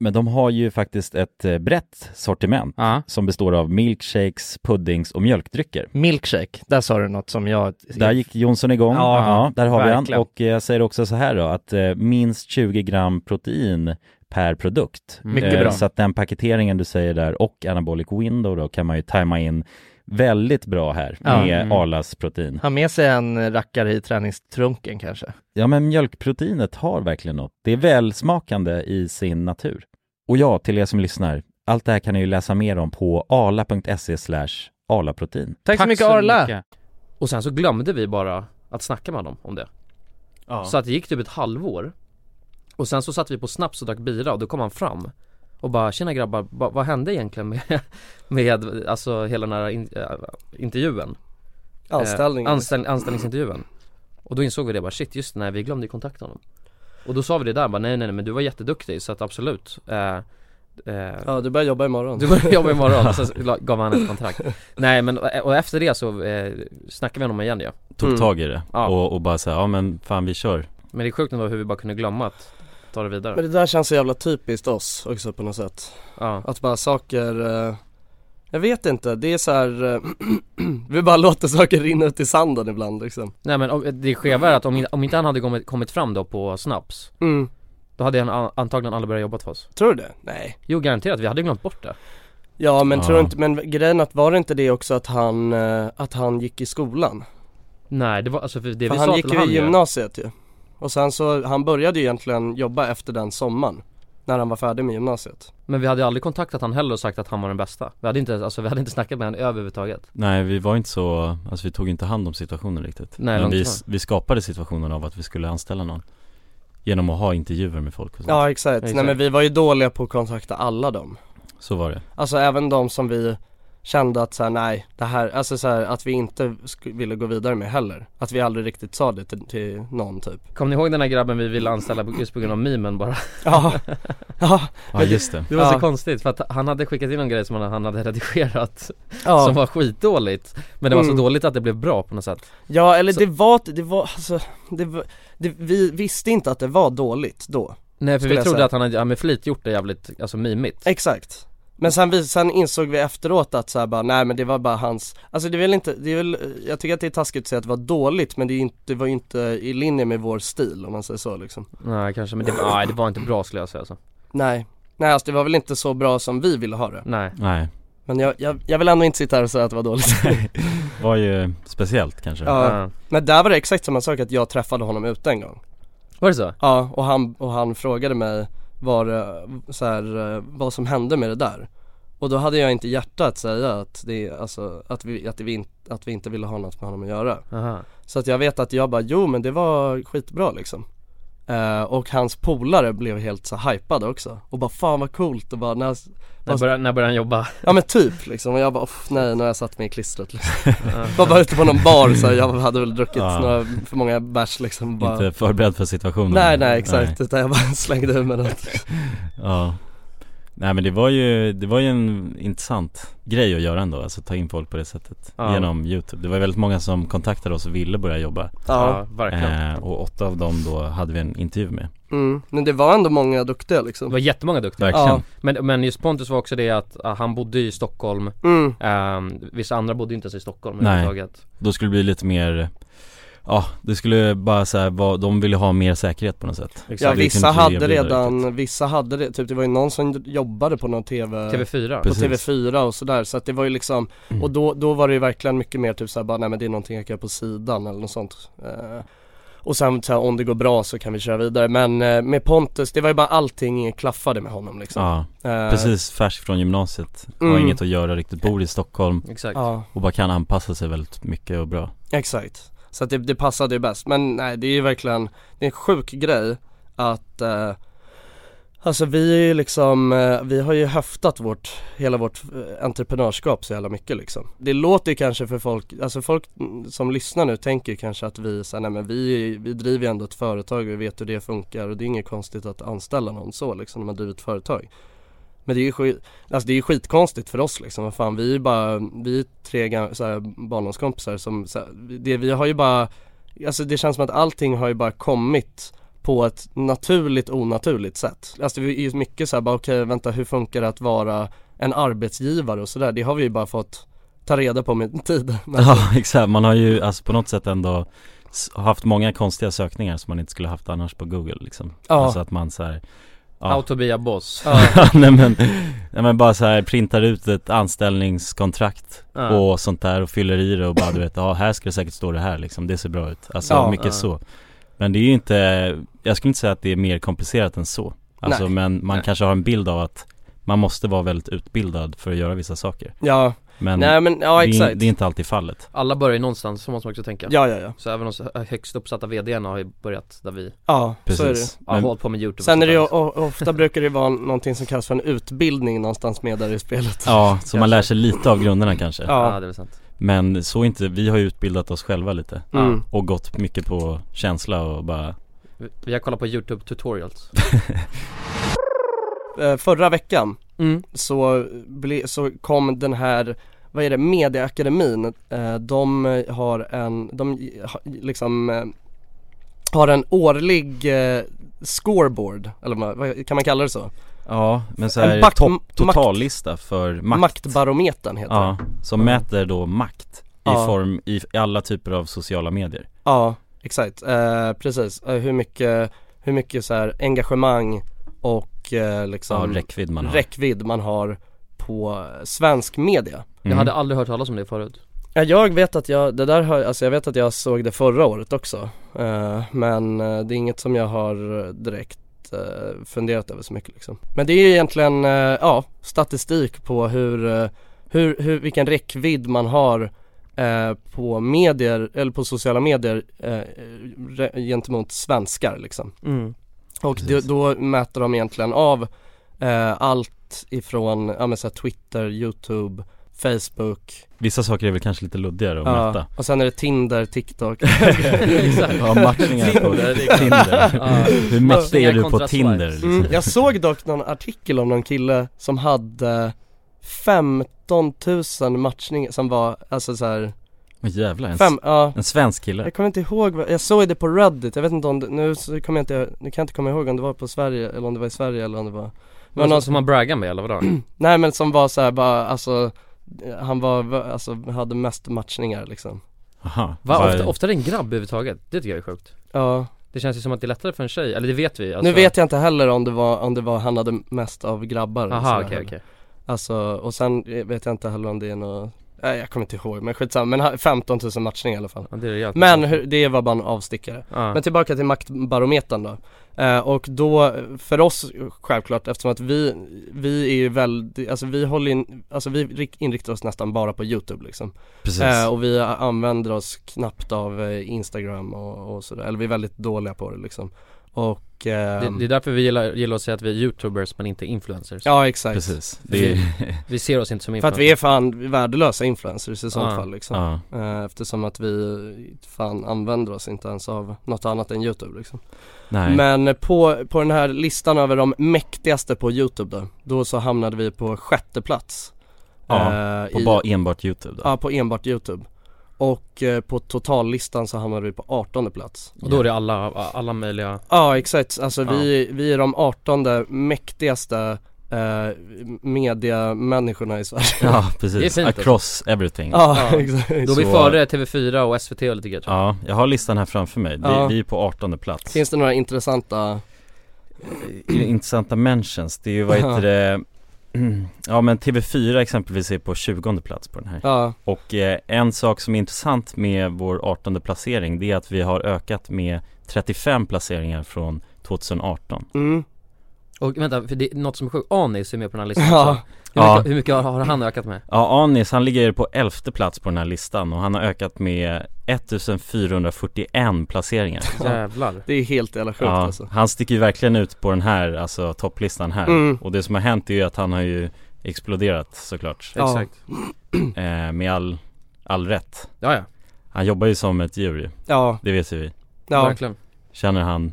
G: men de har ju faktiskt ett eh, brett sortiment
L: Ja.
G: som består av milkshakes, puddings och mjölkdrycker.
C: Milkshake, där sa du något som jag...
G: Där gick Jonsson igång.
C: Ja,
G: Ja, där har vi
C: verkligen.
G: han. Och eh, jag säger också så här då, att eh, minst 20 gram protein per produkt.
C: Mm. Mycket
G: Eh,
C: bra.
G: Så att den paketeringen du säger där och anabolic window då kan man ju tajma in väldigt bra här
C: Ja.
G: med
L: Mm.
G: Arlas protein.
C: Ha med sig en rackare i träningstrunken kanske.
G: Ja men mjölkproteinet har verkligen något. Det är välsmakande i sin natur. Och ja, till er som lyssnar, allt det här kan ni ju läsa mer om på arla.se slash arlaprotein.
C: Tack, så mycket Arla!
D: Och sen så glömde vi bara att snacka med honom om det
B: Ja.
D: Så att det gick typ ett halvår Och sen så satt vi på snaps och drack bira och då kom han fram Och bara tjena grabbar, ba, vad hände egentligen med, med alltså hela den här in, äh, intervjun?
E: Anställningen.
D: Eh, anställ, anställningsintervjun Och då insåg vi det bara shit just det, nej vi glömde ju kontakta honom Och då sa vi det där bara nej nej nej men du var jätteduktig så att absolut eh, eh,
E: ja, du börjar jobba imorgon.
D: du börjar jobba imorgon, och sen la- gav han ett kontrakt Nej men, och efter det så eh, snackade vi med honom igen ja
B: Tog
E: Mm.
B: tag i det
D: Ja.
B: och, och bara såhär, ja men fan vi kör
D: Men det är sjukt ändå hur vi bara kunde glömma att ta det vidare
E: Men det där känns så jävla typiskt oss också på något sätt.
D: Ja,
E: Att bara saker, eh, jag vet inte, det är så här, eh, vi bara låter saker rinna ut i sanden ibland liksom.
D: nej men om- det skeva är att om, in- om inte han hade kommit, kommit fram då på Snaps
E: Mm.
D: Då hade han a- antagligen aldrig börjat jobba för oss
E: Tror du det? Nej.
D: Jo garanterat, vi hade glömt bort det
E: Ja men
B: Ja.
E: tror inte, men grejen att var det inte det också att han, eh, att han gick i skolan?
D: Nej det var alltså för det
E: För
D: vi
E: han
D: sa
E: gick
D: till
E: ju
D: han
E: i
D: ju-
E: gymnasiet ju. Och sen så, han började ju egentligen jobba efter den sommaren. När han var färdig med gymnasiet.
D: Men vi hade aldrig kontaktat han heller och sagt att han var den bästa Vi hade inte, alltså vi hade inte snackat med honom överhuvudtaget
B: Nej vi var inte så, alltså vi tog inte hand om situationen riktigt
D: Nej,
B: Men
D: långt
B: vi,
D: ifrån.
B: vi skapade situationen av att vi skulle anställa någon Genom att ha intervjuer med folk och sånt.
E: Ja exakt.
D: Exakt.
E: nej men vi var ju dåliga på att kontakta alla dem.
B: Så var det
E: Alltså även de som vi kände att såhär, nej det här, alltså såhär att vi inte sk- ville gå vidare med heller. Att vi aldrig riktigt sa det till, till någon typ.
D: Kommer ni ihåg den här grabben vi ville anställa på- just på grund av mimen bara?
E: Ja. Ja,
B: Ja, just det.
D: Det var så
B: Ja.
D: konstigt för att han hade skickat in en grej som han- han hade redigerat
E: Ja.
D: Som var skitdåligt Men det var
E: Mm.
D: så dåligt att det blev bra på något sätt
E: Ja eller
D: Så-
E: det var, det var, alltså, det var, det, vi visste inte att det var dåligt då
D: Nej för
E: skulle
D: vi
E: jag
D: trodde
E: säga.
D: att han hade ja, med flit gjort det jävligt, alltså mimigt
E: Exakt Men sen, vi, sen insåg vi efteråt att så här bara, nej men det var bara hans, alltså det är väl inte, det är väl, jag tycker att det är taskigt att säga att det var dåligt men det, är ju inte, det var ju inte i linje med vår stil om man säger så liksom
D: Nej kanske, men det, nej, det var inte bra skulle jag säga alltså. så
E: Nej, nej alltså det var väl inte så bra som vi ville ha det
D: Nej
B: Nej,
E: Men jag, jag, jag vill ändå inte sitta här och säga att det var dåligt
B: var ju speciellt kanske
E: ja. Men där var det exakt samma sak att jag träffade honom ute en gång
D: Var det så?
E: Ja, och han, och han frågade mig var, eh, så här, eh, vad som hände med det där Och då hade jag inte hjärta att säga att, det, alltså, att, vi, att, vi, in- att vi inte ville ha något med honom att göra
D: Aha.
E: Så att jag vet att jag bara, jo men det var skitbra liksom Eh, Och hans polare blev helt så hypade också och bara fan vad coolt och bara när,
D: När började, när började han jobba?
E: Ja men typ liksom och jag bara "Uff, nej nu har jag satt mig i klistret liksom. Var bara ute på någon bar så här, jag hade väl druckit
B: Ja.
E: några, för många bärs liksom bara
B: Inte förberedd för situationen
E: Nej nej exakt utan jag bara slängde ur mig något
B: Ja Nej men det var ju, det var ju en intressant grej att göra ändå, alltså ta in folk på det sättet
D: Ja.
B: Genom Youtube, det var väldigt många som kontaktade oss och ville börja jobba
D: Uh-huh.
E: Ja,
D: verkligen.
B: eh, Och åtta av dem då hade vi en intervju med
E: mm. Men det var ändå många duktiga liksom
D: Det var jättemånga duktiga
B: Verkligen. Ja.
D: men, men just Pontus var också det att ah, han bodde ju i Stockholm
E: Mm.
D: Ehm, Vissa andra bodde ju inte ens i Stockholm
B: Nej,
D: överhuvudtaget
B: då skulle det bli lite mer Ja, det skulle bara så här, vara- de ville ha mer säkerhet på något sätt
E: Ja
B: Det kunde inte
E: vissa
B: vi
E: hade
B: erbjuda riktigt.
E: redan, vissa hade det, typ det var ju någon som jobbade på någon TV
D: TV4.
E: På
B: Precis. Mm.
E: TV4 och sådär så att det var ju liksom, och då, då var det ju verkligen mycket mer typ såhär bara nej men det är någonting jag kan göra på sidan eller något sånt Eh, Och sen så här, om det går bra så kan vi köra vidare men eh, med Pontus, det var ju bara allting klaffade med honom liksom
B: Ja,
E: Eh,
B: precis färsk från gymnasiet, har
E: Mm.
B: inget att göra riktigt, bor i Stockholm
D: Exakt.
E: Ja.
B: Och bara kan anpassa sig väldigt mycket och bra
E: Exakt, så att det, det passade ju bäst. Men nej det är ju verkligen, det är en sjuk grej att eh, Alltså vi är ju liksom, eh, vi har ju höftat vårt, hela vårt eh, entreprenörskap så jävla mycket liksom. Det låter ju kanske för folk, alltså folk mm, som lyssnar nu tänker ju kanske att vi så här, nej men vi, vi driver ju ändå ett företag och vi vet hur det funkar och det är inget konstigt att anställa någon så liksom när man driver ett företag. Men det är ju skit, alltså det är ju skitkonstigt för oss liksom, vad fan vi är ju bara, vi är tre gam- så här, barndomskompisar som, så här, det, vi har ju bara, alltså det känns som att allting har ju bara kommit på ett naturligt onaturligt sätt. Alltså det är ju mycket så här, bara okej vänta hur funkar det att vara en arbetsgivare och sådär, det har vi ju bara fått ta reda på med tiden.
B: Ja exakt, man har ju alltså på något sätt ändå s- haft många konstiga sökningar som man inte skulle haft annars på google liksom
D: Ja.
B: Alltså att man så här, ja.
D: Autobia Boss
B: nej, men, nej men bara så här printar ut ett anställningskontrakt
D: Ja.
B: och sånt där och fyller i det och bara du vet, ja här ska det säkert stå det här liksom, det ser bra ut Alltså
E: Ja.
B: mycket
E: Ja.
B: så Men det är ju inte, jag skulle inte säga att det är mer komplicerat än så Alltså
E: Nej.
B: men man kanske har en bild av att man måste vara väldigt utbildad för att göra vissa saker
E: Ja.
B: Men,
E: Nej, men- ja,
B: det, är,
E: exakt.
B: det är inte alltid fallet
D: Alla börjar ju någonstans, så måste man också tänka
E: Ja, ja, ja.
D: Så även de eh, högst uppsatta vdn har ju börjat där vi
E: Ja, så är
D: Precis.
E: det.
D: Ja, hållit på med youtube och
E: Sen är det ju,
D: sånt där.
E: o- ofta brukar det vara någonting som kallas för en utbildning någonstans med där i spelet.
B: Ja, så man lär sig lite av grunderna kanske
E: Ja.
D: Ja, det är väl sant.
B: Men så är inte, vi har ju utbildat oss själva lite
E: Mm.
B: Och gått mycket på känsla och bara
D: Vi- Vi har kollat på youtube tutorials
E: Eh, förra veckan så, ble, så kom den här, vad är det, Mediaakademin, eh, de har en, de j- ha- liksom eh, har en årlig eh, scoreboard, eller vad, vad kan man kalla det så?
B: Ja, men så
E: En
B: här
E: makt-
B: topp- totallista för makt
E: Maktbarometern heter
B: Ja,
E: det.
B: som mäter då makt i
E: Ja.
B: form, i, i alla typer av sociala medier
E: Ja, exakt. Eh, precis. Eh, hur mycket, hur mycket så här engagemang och eh, liksom
B: Ja, räckvidd man har.
E: räckvidd man har på svensk media.
B: Mm.
D: Jag hade aldrig hört talas om det förut
E: Ja, jag vet att jag, det där har, alltså jag vet att jag såg det förra året också Eh, Men eh, det är inget som jag har eh, direkt eh, funderat över så mycket liksom Men det är ju egentligen, eh, ja, statistik på hur, eh, hur, hur, vilken räckvidd man har eh, på medier, eller på sociala medier eh, re- gentemot svenskar liksom
D: Mm.
E: Och då, då mäter de egentligen av eh, allt ifrån, ja men så här Twitter, Youtube, Facebook
B: Vissa saker är väl kanske lite luddigare att
E: Ja,
B: mäta
E: och sen är det Tinder, TikTok
B: Ja, matchningar på Tinder, Hur mäktig är du på Tinder? Liksom?
E: Mm, jag såg dock någon artikel om någon kille som hade 15 000 matchningar som var, alltså så här,
B: Åh, jävlar, en,
E: Fem, ja.
B: en svensk kille
E: Jag kommer inte ihåg, vad- jag såg det på Reddit, jag vet inte om det, nu så kommer jag inte, nu kan jag inte komma ihåg om det var på Sverige eller om det var i Sverige eller om det var
D: Någon som Alltså, man braggar med eller vadå?
E: Nej men som var så här, bara, alltså han var, alltså hade mest matchningar liksom
B: Aha.
D: Va, ofta, ofta är det en grabb överhuvudtaget, det tycker jag är sjukt
E: Ja
D: Det känns ju som att det är lättare för en tjej, eller det vet vi alltså.
E: Nu vet jag inte heller om det var, om det var han hade mest av grabbar
D: Aha,
E: sådär.
D: okej, okej.
E: Alltså, och sen eh, vet jag inte heller om det är något Nej jag kommer inte ihåg men skitsamma, men ha- 15 000 matchningar i alla fall
D: det är rejält.
E: Men hur, det var bara en avstickare
D: Ja.
E: Men tillbaka till maktbarometern då eh, Och då, eh, för oss självklart eftersom att vi, vi är ju väldigt, alltså vi håller in, alltså vi rik- inriktar oss nästan bara på YouTube liksom
B: Precis.
E: Och vi a- använder oss knappt av eh, Instagram och, och sådär, eller vi är väldigt dåliga på det liksom Och
D: Det,
E: ehm,
D: det är därför vi gillar, gillar att säga att vi är youtubers men inte influencers
E: Ja exakt
B: Precis.
E: För
B: Det
E: vi-
B: är-
D: Vi ser oss inte som
E: För att
D: influencers
E: vi är fan värdelösa influencers i sånt
D: Ja.
E: fall liksom
B: Ja.
E: Eh, Eftersom att vi fan använder oss inte ens av något annat än youtube liksom
B: Nej.
E: Men på, på den här listan över de mäktigaste på youtube då, då så hamnade vi på sjätte plats
B: Ja,
E: Eh,
B: på bara enbart YouTube då
E: Ja, på enbart youtube Och eh, på totallistan så hamnade vi på artonde plats
D: Och då är det alla, alla möjliga
E: Ja exakt, alltså
D: Ja.
E: vi, vi är de 18 mäktigaste eh, mediamänniskorna i Sverige
B: Ja, precis.
D: Det är fint, alltså.
B: Across everything
E: Ja, exakt
D: Då är vi
B: Så-
D: före TV4 och SVT och lite grann
B: Ja, jag har listan här framför mig. Vi,
E: Ja.
B: vi är på 18 plats.
E: Finns det några intressanta
B: Intressanta mentions, det är ju vad heter det Ja men TV4 exempelvis är på 20 plats på den här
E: Ja.
B: Och eh, en sak som är intressant med vår 18 placering Det är att vi har ökat med 35 placeringar från 2018
D: Och vänta, för det är något som är sjukt, Anis är med på den här listan
B: Ja.
D: också. Hur
B: Ja.
D: mycket, hur mycket har, har han ökat med?
B: Ja Anis han ligger på 11 plats på den här listan och han har ökat med 1441 placeringar
D: Jävlar
E: Det är helt jävla sjukt
B: Ja,
E: alltså
B: han sticker ju verkligen ut på den här, alltså topplistan här
E: Mm.
B: Och det som har hänt är ju att han har ju exploderat såklart
E: Ja. Exakt.
B: eh, Med all, all rätt
D: ja, ja.
B: Han jobbar ju som ett djur ju
E: Ja.
B: Det vet ju vi
E: Ja. Verkligen.
B: Känner han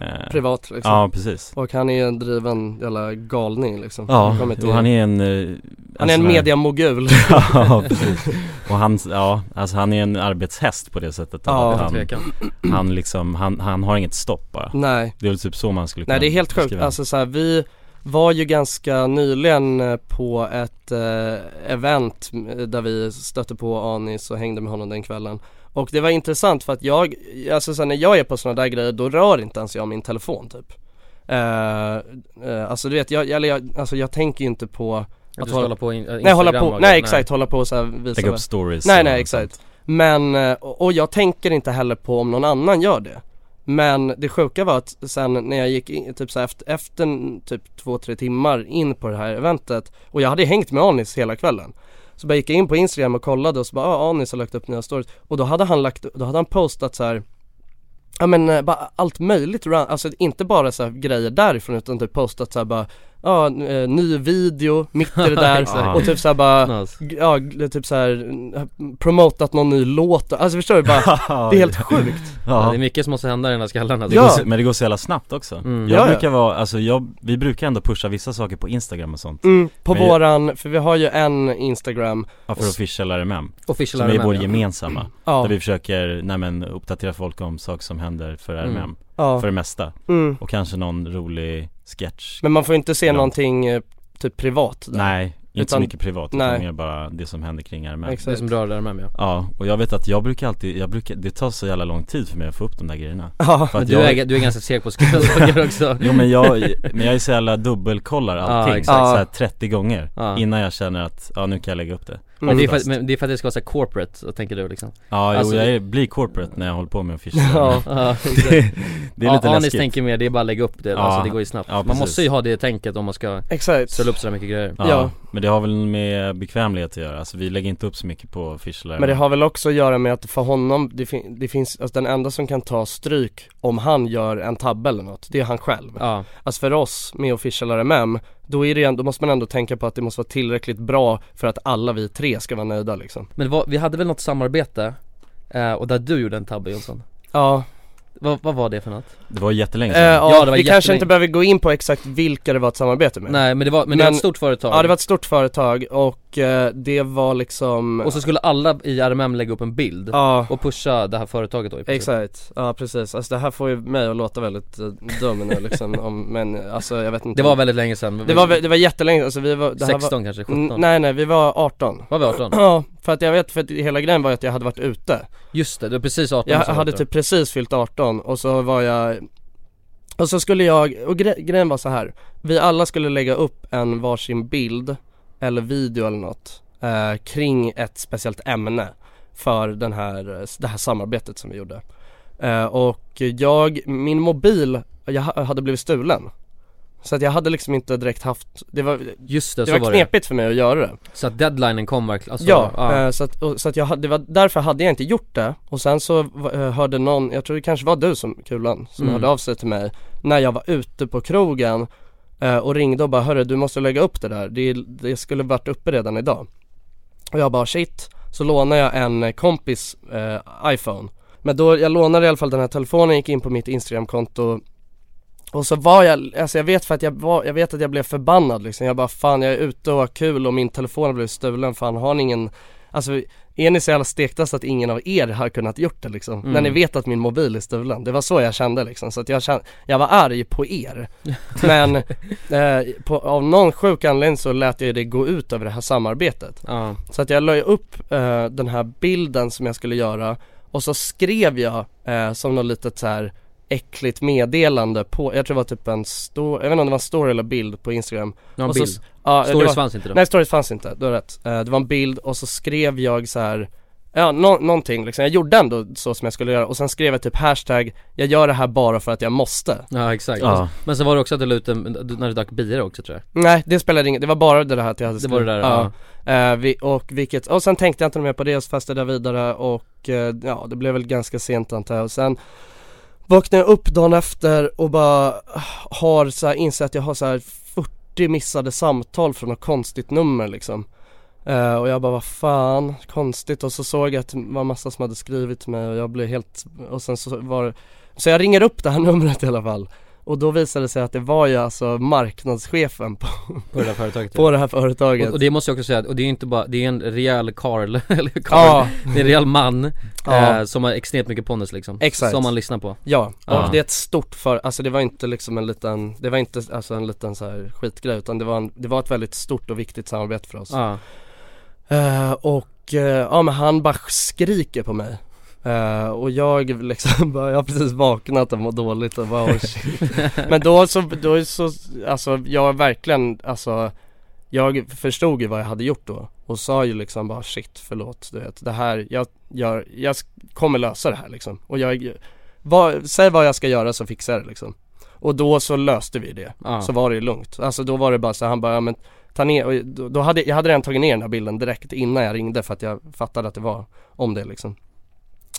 B: eh,
E: Privat liksom
B: Ja precis
E: Och han är en driven jävla galning liksom
B: Ja,
E: Han kommer inte-
B: och han är en eh,
E: Han är en
B: sån här-
E: mediamogul
B: Ja, precis Och han, ja, alltså han är en arbetshäst på det sättet
E: Ja.
B: att
E: Utan
B: han,
E: tvekan.
B: han liksom, han, han har inget stopp bara
E: Nej.
B: Det är väl typ så man skulle
E: Nej det är helt sjukt,
B: beskriva
E: alltså så här, vi var ju ganska nyligen eh, på ett eh, event eh, där vi stötte på Anis och hängde med honom den kvällen Och det var intressant för att jag, alltså så här, när jag är på sådana där grejer då rör inte ens jag min telefon typ Eh, eh, Alltså du vet, jag, eller jag, alltså jag tänker ju inte på
D: du ska hålla på in- eh,
E: Nej hålla
D: Instagram
E: på,
D: och-
E: nej
D: nej.
E: exakt, hålla på och så här, visa
B: Lägga upp
E: vad-
B: stories
E: Nej
B: och
E: nej exakt Men, eh, och och jag tänker inte heller på om någon annan gör det men det sjuka var att sen när jag gick in, typ så här, efter, efter en typ två, tre timmar in på det här eventet och jag hade hängt med Anis hela kvällen. Så bara gick jag in på Instagram och kollade och så bara, ah, Anis har lagt upp nya stories. Och då hade han lagt, då hade han postat så här Ja men eh, bara allt möjligt, ra- alltså inte bara så här grejer därifrån utan typ postat så här bara Ja, eh, ny video, mitt i det där
D: Exakt.
E: och typ såhär bara,
D: Nice.
E: g- ja g- typ såhär promotat någon ny låt, alltså förstår du bara, det är helt sjukt
B: Ja.
D: Det är mycket som måste hända i den här skallen
B: Det
D: alltså.
B: går så, men det går så jävla snabbt också.
D: Mm.
B: Jag
E: Ja, ja.
B: brukar vara, alltså jag, vi brukar ändå pusha vissa saker på Instagram och sånt
E: Mm, på
B: Men-
E: våran, för vi har ju en Instagram
B: Ja, för official RMM
D: Official
B: Som är
D: RMM,
B: vår
D: ja.
B: gemensamma
E: Ja.
B: Där vi försöker, nej men uppdatera folk om saker som händer för RMM
E: Mm. Ja.
B: För det mesta
E: Mm.
B: Och kanske någon rolig sketch
E: Men man får inte se
B: Ja.
E: någonting eh, typ privat där.
B: Nej, inte så
E: Utan-
B: mycket privat
E: nej.
B: utan mer bara det som händer kring RMM
E: Exakt. Det som
D: rör RMM ja
B: Ja, och jag vet att jag brukar alltid, jag brukar, det tar så jävla lång tid för mig att få upp de där grejerna
D: Ja.
B: För att
D: Men du är- du är ganska seg på att skriva saker också.
B: Jo men jag, men jag är så jävla dubbelkollar allting,
D: Ja, exakt.
B: så här
D: Ja.
B: 30 gånger
D: Ja.
B: innan jag känner att, ja nu kan jag lägga upp det
D: Men, det är för, att-
B: Oftast.
D: men det är för att det ska vara så här corporate, så tänker du liksom
B: Ja, jo,
D: Alltså,
B: jag är, blir corporate när jag håller på med official
D: Ja, ja,
B: det,
D: exakt.
B: det är
D: ja,
B: lite
D: Anis
B: läskigt
D: tänker mer, det är bara att lägga upp det,
B: Ja.
D: alltså det går ju snabbt
B: Ja,
D: Man
B: precis.
D: måste ju ha det tänket om man ska
E: Exakt.
D: ställa upp sådär mycket grejer
B: ja, men det har väl med bekvämlighet att göra, alltså vi lägger inte upp så mycket på official
E: Men det har väl också att göra med att för honom, det, fin- det finns, alltså den enda som kan ta stryk om han gör en tabbe eller något, det är han själv.
D: Ja.
E: Alltså för oss med official RMM, då, är det, ju ändå- då måste man ändå tänka på att det måste vara tillräckligt bra för att alla vi tre ska vara nöjda liksom.
D: Men vad, vi hade väl något samarbete eh, och där du gjorde en tabbe Jonsson?
E: Ja
D: Vad, vad var det för något?
B: Det var jättelänge
E: Eh, ja, vi kanske inte behöver gå in på exakt vilka det var ett samarbete med
D: Nej, men det var- men det var ett stort företag.
E: Ja det var ett stort företag och eh, det var liksom
D: Och så skulle alla i RMM lägga upp en bild
E: Ja.
D: och pusha det här företaget då i princip.
E: Exakt, ja precis. Alltså det här får ju mig att låta väldigt eh, dum nu liksom om, men alltså jag vet inte
D: Det var väldigt länge sedan.
E: Det var, vä- det var jättelänge alltså vi var det här
D: 16
E: var,
D: kanske, 17?
E: N- Nej nej, vi var 18
D: Var vi 18?
E: Ja, för att jag vet, för att hela grejen var ju att jag hade varit ute
D: Just det, du var precis 18
E: Jag
D: som
E: hade
D: året då.
E: typ precis fyllt 18 och så var jag Och så skulle jag, och gre- grejen var så här Vi alla skulle lägga upp en varsin bild eller video eller något eh, Kring ett speciellt ämne för den här, det här samarbetet som vi gjorde eh, Och jag, min mobil, jag ha- hade blivit stulen så att jag hade liksom inte direkt haft, det var,
D: Just det,
E: det
D: så
E: var
D: var det.
E: knepigt för mig att göra det
D: Så att deadlinen kom verkligen, alltså,
E: ja, eh, så att, och, så att jag, hade- det var, därför hade jag inte gjort det och sen så va- eh, hörde någon, jag tror det kanske var du som, Kulan, som
D: Mm.
E: hörde av sig till mig när jag var ute på krogen eh, och ringde och bara hörru du måste lägga upp det där, det, det skulle varit uppe redan idag och jag bara shit, så lånade jag en eh, kompis eh, iPhone men då, jag lånade i alla fall den här telefonen, gick in på mitt Instagram-konto och så var jag, alltså jag vet för att jag var, jag vet att jag blev förbannad liksom Jag bara fan jag är ute och har kul och min telefon har blivit stulen, fan har ni ingen Alltså är ni så jävla stekta så att ingen av er har kunnat gjort det liksom?
D: Mm.
E: När ni vet att min mobil är stulen, det var så jag kände liksom Så att jag kände, jag var arg på er Men eh, på, av någon sjuk anledning så lät jag ju det gå ut över det här samarbetet Så att jag la ju upp eh, den här bilden som jag skulle göra Och så skrev jag eh, som något litet så här äckligt meddelande på, jag tror det var typ en stor, jag vet inte om det var en story eller bild på Instagram
D: Ja, en
E: Och så-
D: bild.
E: ja,
D: Stories
E: det var,
D: fanns inte då.
E: Nej stories fanns inte, du har rätt. Eh, det var en bild och så skrev jag så här Ja, nå- någonting liksom. Jag gjorde ändå så som jag skulle göra och sen skrev jag typ hashtag Jag gör det här bara för att jag måste
D: Ja exakt,
E: Ja.
D: men så var det också att du la ut en, du- när du drack bira också tror jag
E: Nej det spelade ingen, det var bara det där att jag hade
D: Det var det där,
E: ja. Eh, vi, och vilket, och sen tänkte jag inte mer på det och så festade jag vidare och eh, ja det blev väl ganska sent antar jag och sen Vaknade jag upp dagen efter och bara ah, har så här insett att jag har så här 40 missade samtal från något konstigt nummer liksom Eh, och jag bara vad fan, konstigt och så såg jag att det var massa som hade skrivit till mig och jag blev helt, och sen så var det, så jag ringer upp det här numret i alla fall och då visade det sig att det var ju alltså marknadschefen på,
D: På det där företaget
E: På det här företaget
D: och, och det måste jag också säga, och det är inte bara, det är en rejäl karl, eller karl,
E: Ja.
D: det är en rejäl man
E: Ja.
D: eh, Som har extremt mycket pondus liksom
E: Exakt.
D: Som man lyssnar på
E: Ja, och det är ett stort för, alltså det var inte liksom en liten, det var inte alltså en liten så här skitgrej utan det var, en, det var ett väldigt stort och viktigt samarbete för oss.
D: Ja.
E: Eh, och eh, ja men han bara skriker på mig. Eh, och jag liksom bara, jag har precis vaknat och mår dåligt och bara oh shit. Men då så, då så, alltså jag verkligen, alltså jag förstod ju vad jag hade gjort då och sa ju liksom bara shit förlåt du vet det här, jag, jag, jag sk- kommer lösa det här liksom och jag, vad, säg vad jag ska göra så fixar jag det liksom Och då så löste vi det,
D: Ja.
E: så var det ju lugnt Alltså då var det bara så här, han bara ja, men ta ner, och då, då hade, jag hade redan tagit ner den här bilden direkt innan jag ringde för att jag fattade att det var om det liksom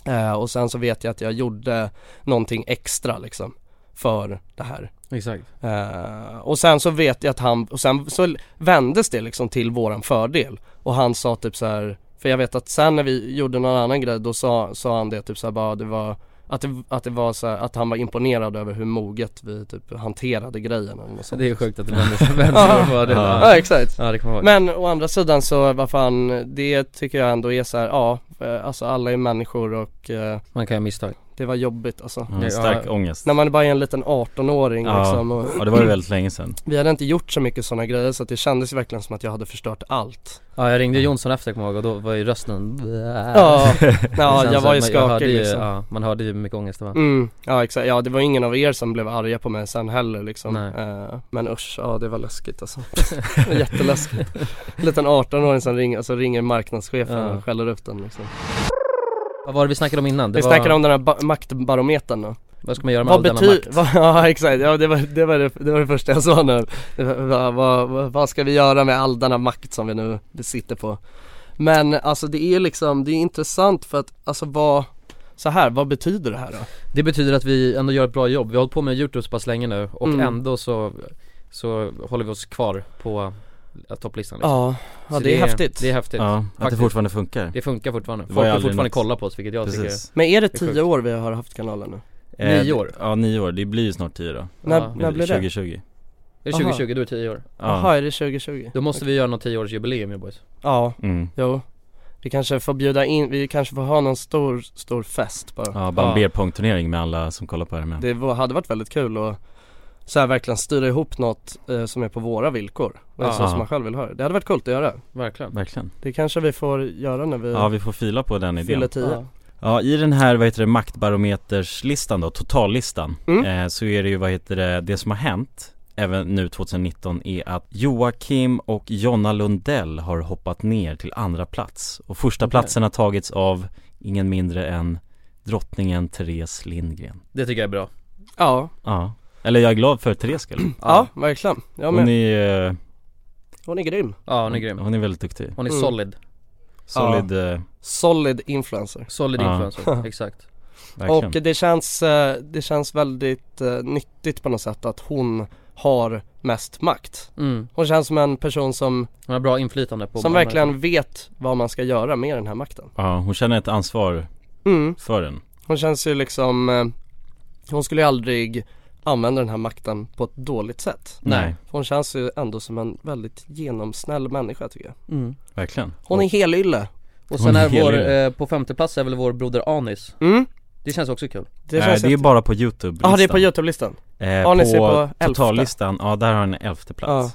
E: Eh, och sen så vet jag att jag gjorde någonting extra liksom för det här.
D: Exakt.
E: Eh, och sen så vet jag att han, och sen så vändes det liksom till våran fördel. Och han sa typ så här, för jag vet att sen när vi gjorde någon annan grej då sa, sa han det typ så här bara det var att det, att det var så här, att han var imponerad över hur moget vi typ hanterade grejen eller något sånt.
D: Det är sjukt att det vändes- vändes till vår fördel.
E: Ja,
D: Ja.
E: ja exakt.
D: Ja, det kommer jag ihåg.
E: Men å andra sidan så vad fan, det tycker jag ändå är så här, ja, eh, alltså alla är människor och eh,
D: Man kan göra misstag
E: det var jobbigt alltså
B: Ja, en Mm. stark ångest.
E: När man bara är en liten 18-åring
B: Ja.
E: liksom och,
B: Ja, det var ju väldigt länge sedan.
E: Vi hade inte gjort så mycket sådana grejer så att det kändes ju verkligen som att jag hade förstört allt
D: Ja jag ringde Jonsson efter kommer jag ihåg och då var ju rösten
E: Ja, ja,
D: Sen
E: jag
D: så-
E: var ju
D: man-
E: skakig
D: jag hörde ju,
E: liksom.
D: ja, Man hörde ju hur mycket ångest det var
E: Mm, ja exakt, ja det var ingen av er som blev arga på mig sen heller liksom
D: Nej.
E: Eh, Men usch, ja det var läskigt alltså Det var Jätteläskigt En liten 18-åring som ringer, alltså ringer marknadschefen
D: Ja.
E: och skäller ut den liksom
D: Vad var det vi snackade om innan? Det
E: Vi
D: var-
E: snackade om den här ba- maktbarometern då
D: Vad ska man göra med all
E: vad
D: denna
E: bety-
D: makt?
E: vad, Ja exakt, ja, det, var, det, var det, det var det första jag sa nu Det var- vad, vad, vad, vad ska vi göra med all denna makt som vi nu besitter på? Men alltså det är liksom, det är intressant för att alltså vad så här, vad betyder det här då?
D: Det betyder att vi ändå gör ett bra jobb, vi har hållit på med YouTube så pass länge nu och
E: Mm.
D: ändå så så håller vi oss kvar på eh, topplistan
E: Ja, ja,
D: Så
E: det är häftigt.
D: Det är häftigt
B: Ja, att det
D: Faktiskt.
B: fortfarande funkar.
D: Det funkar fortfarande,
B: Det var
D: folk
B: ju
D: kan
B: aldrig
D: fortfarande
B: något-
D: kolla på oss vilket jag
B: Precis.
D: tycker
E: Men är det
D: är sjukt.
E: tio år vi har haft kanalen nu?
B: Eh,
D: Nio år.
B: Ja, nio år. Det blir ju snart tio då.
E: När-
B: Men
E: när blir det?
B: 2020.
D: Är det 2020, då är det 10 år?
B: Ja.
E: Jaha, är det 2020?
D: Då måste vi göra något 10-årsjubileum ju boys
E: Ja,
B: Mm.
E: jo Vi kanske får bjuda in, vi kanske får ha någon stor, stor fest bara
B: Ja, bara en beer pong turnering med alla som kollar på det här med.
E: Det var, hade varit väldigt kul att så här verkligen styra ihop något eh, som är på våra villkor och
B: Ja.
E: så som man själv vill ha det. Det hade varit coolt att göra
D: Verkligen
B: Verkligen.
E: Det kanske vi får göra när vi,
B: Ja, vi får fila på den
E: fyller
B: idén.
E: tio
B: Ja. Ja, i den här, vad heter det, maktbarometerslistan då, totallistan,
E: Mm.
B: eh, så är det ju, vad heter det, det som har hänt även nu 2019 är att Joakim och Jonna Lundell har hoppat ner till andra plats och första
D: Okej.
B: platsen har tagits av ingen mindre än drottningen Therese Lindgren.
D: Det tycker jag är bra
E: Ja,
B: Ja, eller jag är glad för Therese skull.
E: ja, verkligen. Jag
B: Hon
E: med.
B: är, eh,
E: Hon är grym
D: Ja hon är grym
B: hon är väldigt duktig.
D: Hon är
E: Mm.
D: solid,
B: Solid, eh,
E: Solid influencer
D: solid
B: Ja.
D: influencer, exakt
B: verkligen.
E: Och det känns, eh, det känns väldigt eh, nyttigt på något sätt att hon har mest makt
D: mm.
E: Hon känns som en person som,
D: Hon har bra inflytande på
E: som
D: många
E: verkligen
D: människor.
E: vet vad man ska göra med den här makten
B: Ja, hon känner ett ansvar
E: mm.
B: för den.
E: Hon känns ju liksom, eh, hon skulle ju aldrig använda den här makten på ett dåligt sätt
B: Nej.
E: För hon känns ju ändå som en väldigt genomsnäll människa tycker jag
D: mm.
B: Verkligen.
E: Hon är helylle
B: Hon
D: Och sen
B: är
D: är vår,
B: helig.
D: eh, på femte plats är väl vår broder Anis
E: Mm,
D: Det känns också kul
E: det
B: Nej,
E: känns
B: Eh, det är ju
E: häftigt.
B: bara på youtube
E: Ja det är på Youtube-listan
B: Eh,
E: Ja, ni ser på
B: på
E: elfte.
B: totallistan, ja där har han elfte plats.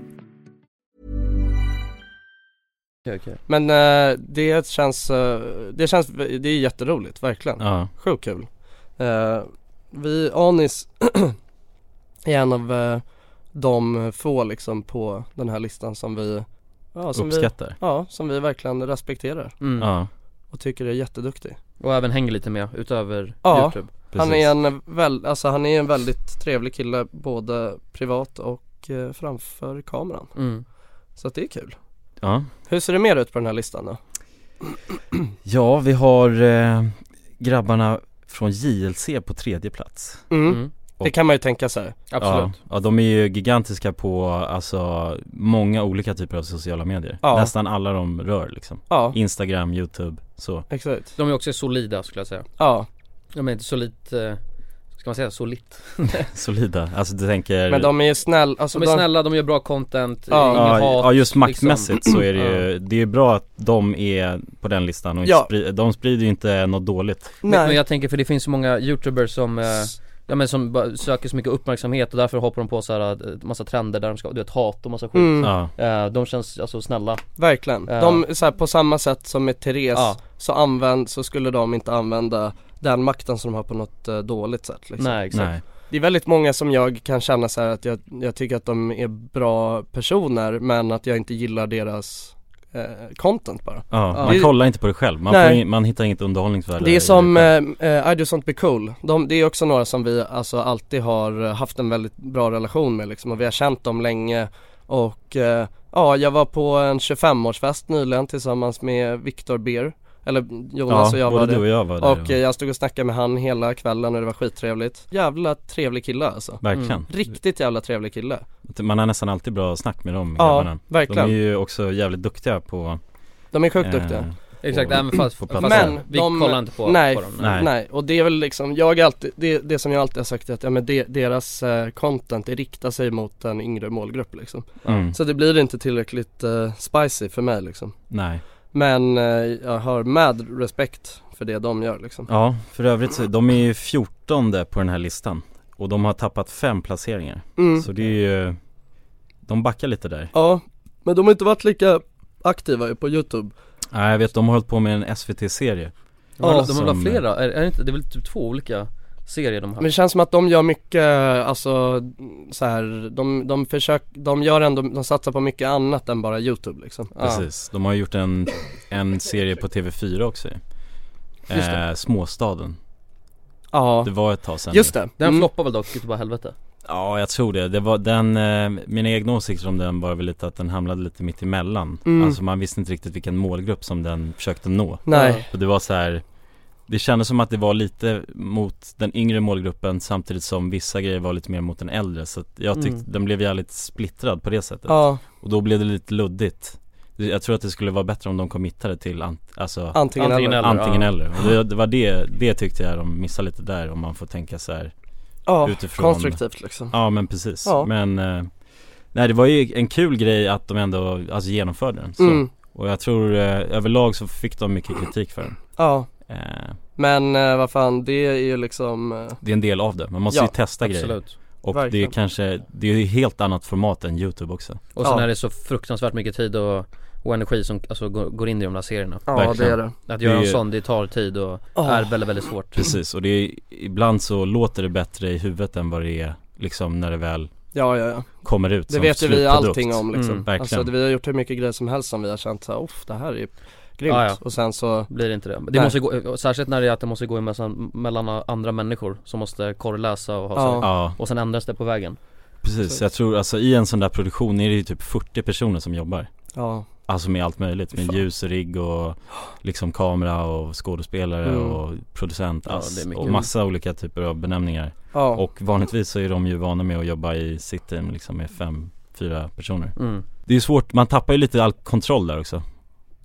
D: Okej, okej.
E: Men eh, det känns, eh, det känns, det är jätteroligt verkligen
B: Ja,
E: Sjukt kul Eh, Vi, Anis är en av eh, de få liksom på den här listan som vi ja, som vi,
B: uppskattar.
E: ja, som vi verkligen respekterar
D: Mm.
B: Ja,
E: och tycker är jätteduktig
D: Och även hänger lite med utöver
E: Ja.
D: youtube
B: precis.
E: Han är en väl, alltså han är en väldigt trevlig kille både privat och eh, framför kameran
D: mm.
E: Så att det är kul
B: ja.
E: Hur ser det mer ut på den här listan då?
B: ja, vi har eh, grabbarna från JLC på tredje plats.
E: Mm.
D: Mm.
E: Det kan man ju tänka sig
D: Absolut
B: Ja, ja, de är ju gigantiska på alltså många olika typer av sociala medier.
E: Ja.
B: Nästan alla de rör liksom.
E: Ja,
B: Instagram, youtube, så.
E: exakt
D: De är också solida skulle jag säga
E: Ja,
D: De är inte solitt, eh, ska man säga solitt?
B: Solida, alltså du tänker
E: men de är ju snälla, alltså
D: De är snälla, de gör bra content,
E: Ja.
D: ingen
B: Ja,
D: hat
B: ja just
D: liksom.
B: maktmässigt så är det ju, det är ju bra att de är på den listan och inte
E: Ja.
B: spri- de sprider ju inte något dåligt
E: Nej.
D: Men, men jag tänker för det finns så många youtubers som eh, Ja men som bara söker så mycket uppmärksamhet och därför hoppar de på så här eh, massa trender där de ska, du vet hat och massa skit
E: Mm.
B: Ja,
D: Eh, De känns alltså snälla
E: Verkligen.
D: Ja.
E: De, så här, på samma sätt som med Therese
D: Ja.
E: så, använd, så skulle de inte använda den makten som de har på något eh, dåligt sätt liksom.
D: Nej exakt
B: nej,
E: Det är väldigt många som jag kan känna så här att jag, jag tycker att de är bra personer men att jag inte gillar deras eh, content bara.
B: ja,
D: Ja.
B: man
E: Det-
B: kollar inte på det själv, man,
E: Nej.
B: får in, man hittar inget underhållningsvärde
E: Det är
B: i
E: som
B: själv.
E: eh, eh, I do sånt be cool. De, det är också några som vi alltså alltid har eh, haft en väldigt bra relation med liksom och vi har känt dem länge och eh, ja, jag var på en 25-årsfest nyligen tillsammans med Viktor Beer eller
B: ja,
E: Jonas och jag
B: både
E: var
B: du och
E: det.
B: jag var där
E: Och eh, jag stod och snackade med han hela kvällen och det var skittrevligt. Jävla trevlig kille alltså.
B: Verkligen,
E: Riktigt jävla trevlig kille.
B: man har nästan alltid bra snack med dem
E: Ja,
B: grabbarna. De är
E: verkligen.
B: ju också jävligt duktiga på
E: De är sjukt
B: eh,
E: duktiga.
D: Exakt,
B: Och-
D: även fast,
B: Får
D: fast
B: platsen.
D: men,
E: Men
D: vi
E: de-
D: kollar inte på,
E: nej,
D: på dem
B: nej.
E: Nej. och det är väl liksom, jag är alltid, det, det som jag alltid har sagt är att ja, men det, deras eh, content det riktar sig mot en yngre målgrupp liksom.
B: mm,
E: Så det blir inte tillräckligt eh, spicy för mig liksom.
B: nej
E: Men eh, jag har med respekt för det de gör liksom.
B: Ja, för övrigt så, de är ju 14 på den här listan Och de har tappat fem placeringar
E: Mm.
B: Så det är ju, de backar lite där
E: Ja, men de har inte varit lika aktiva ju på youtube.
B: Nej jag vet, de har hållit på med en SVT-serie
D: De har,
E: Ja,
D: de har väl
B: som- eh,
D: flera, är, är det inte, det är väl typ två olika serie de har
E: Men det känns som att de gör mycket, alltså så här, de, de försöker, de gör ändå, de satsar på mycket annat än bara YouTube liksom Ja.
B: Precis, de har gjort en, en serie på TV4 också ju.
D: Just det.
B: eh, Småstaden
E: Ja
B: Det var ett tag sedan nu.
D: Den
E: mm.
D: floppar väl dock utav helvete?
B: Ja jag tror det, det var den, eh, mina egna åsikter om den var väl lite att den hamnade lite mitt emellan
E: Mm.
B: Alltså man visste inte riktigt vilken målgrupp som den försökte nå
E: Nej.
B: Och det var så här. Det kändes som att det var lite mot den yngre målgruppen samtidigt som vissa grejer var lite mer mot den äldre Så att jag tyckte
E: Mm.
B: den blev jävligt splittrad på det sättet
E: Ja.
B: Och då blev det lite luddigt Det- Jag tror att det skulle vara bättre om de committade till ant- alltså,
E: Antingen Antingen eller. eller,
B: Antingen
E: ja.
B: eller. Och det, det var det, det tyckte jag de missade lite där om man får tänka så här
E: Ja, konstruktivt liksom.
B: Ja men precis,
E: Ja.
B: men eh, Nej det var ju en kul grej att de ändå alltså, genomförde den så.
E: Mm.
B: Och jag tror eh, överlag så fick de mycket kritik för den
E: Ja
B: Eh,
E: Men eh, vad fan, det är ju liksom eh,
B: Det är en del av det, man måste
E: Ja,
B: ju testa
E: absolut.
B: grejer Och det
E: Verkligen. Mm.
B: är kanske, det är ju ett helt annat format än youtube också
D: Och sen är det så fruktansvärt mycket tid och, och energi som alltså, går, går in i de där serierna
E: Ja, Verkligen. det är det.
D: Att göra
B: Det
D: en
B: är-
D: sån, det tar tid och
E: Ja.
D: är väldigt, väldigt svårt
B: Precis, och det är, ibland så låter det bättre i huvudet än vad det är liksom när det väl
E: Ja, ja, ja.
B: kommer ut
E: Det
B: som
E: vet ju vi
B: slutprodukt.
E: allting om liksom.
B: mm, Verkligen
E: Alltså det, vi har gjort hur mycket grejer som helst som vi har känt såhär, off det här är ju grymt.
D: Ja, ja.
E: Och sen så
D: Blir det inte det? Det
E: Nej.
D: måste gå, eh, särskilt när det är att det måste gå mellan, mellan andra människor som måste korreläsa och ha
B: Ja.
D: sig.
B: Ja.
D: Och sen ändras det på vägen
B: Precis, jag tror alltså i en sån där produktion är det ju typ 40 personer som jobbar
E: Ja.
B: Alltså med allt möjligt, med ljus och rigg och liksom kamera och skådespelare
E: Mm.
B: och producent
E: Ja,
B: ass
E: det är mycket.
B: och massa olika typer av benämningar
E: Ja.
B: Och vanligtvis så är de ju vana med att jobba i sitt team liksom med fem, fyra personer
D: Mm.
B: Det är ju svårt, man tappar ju lite all kontroll där också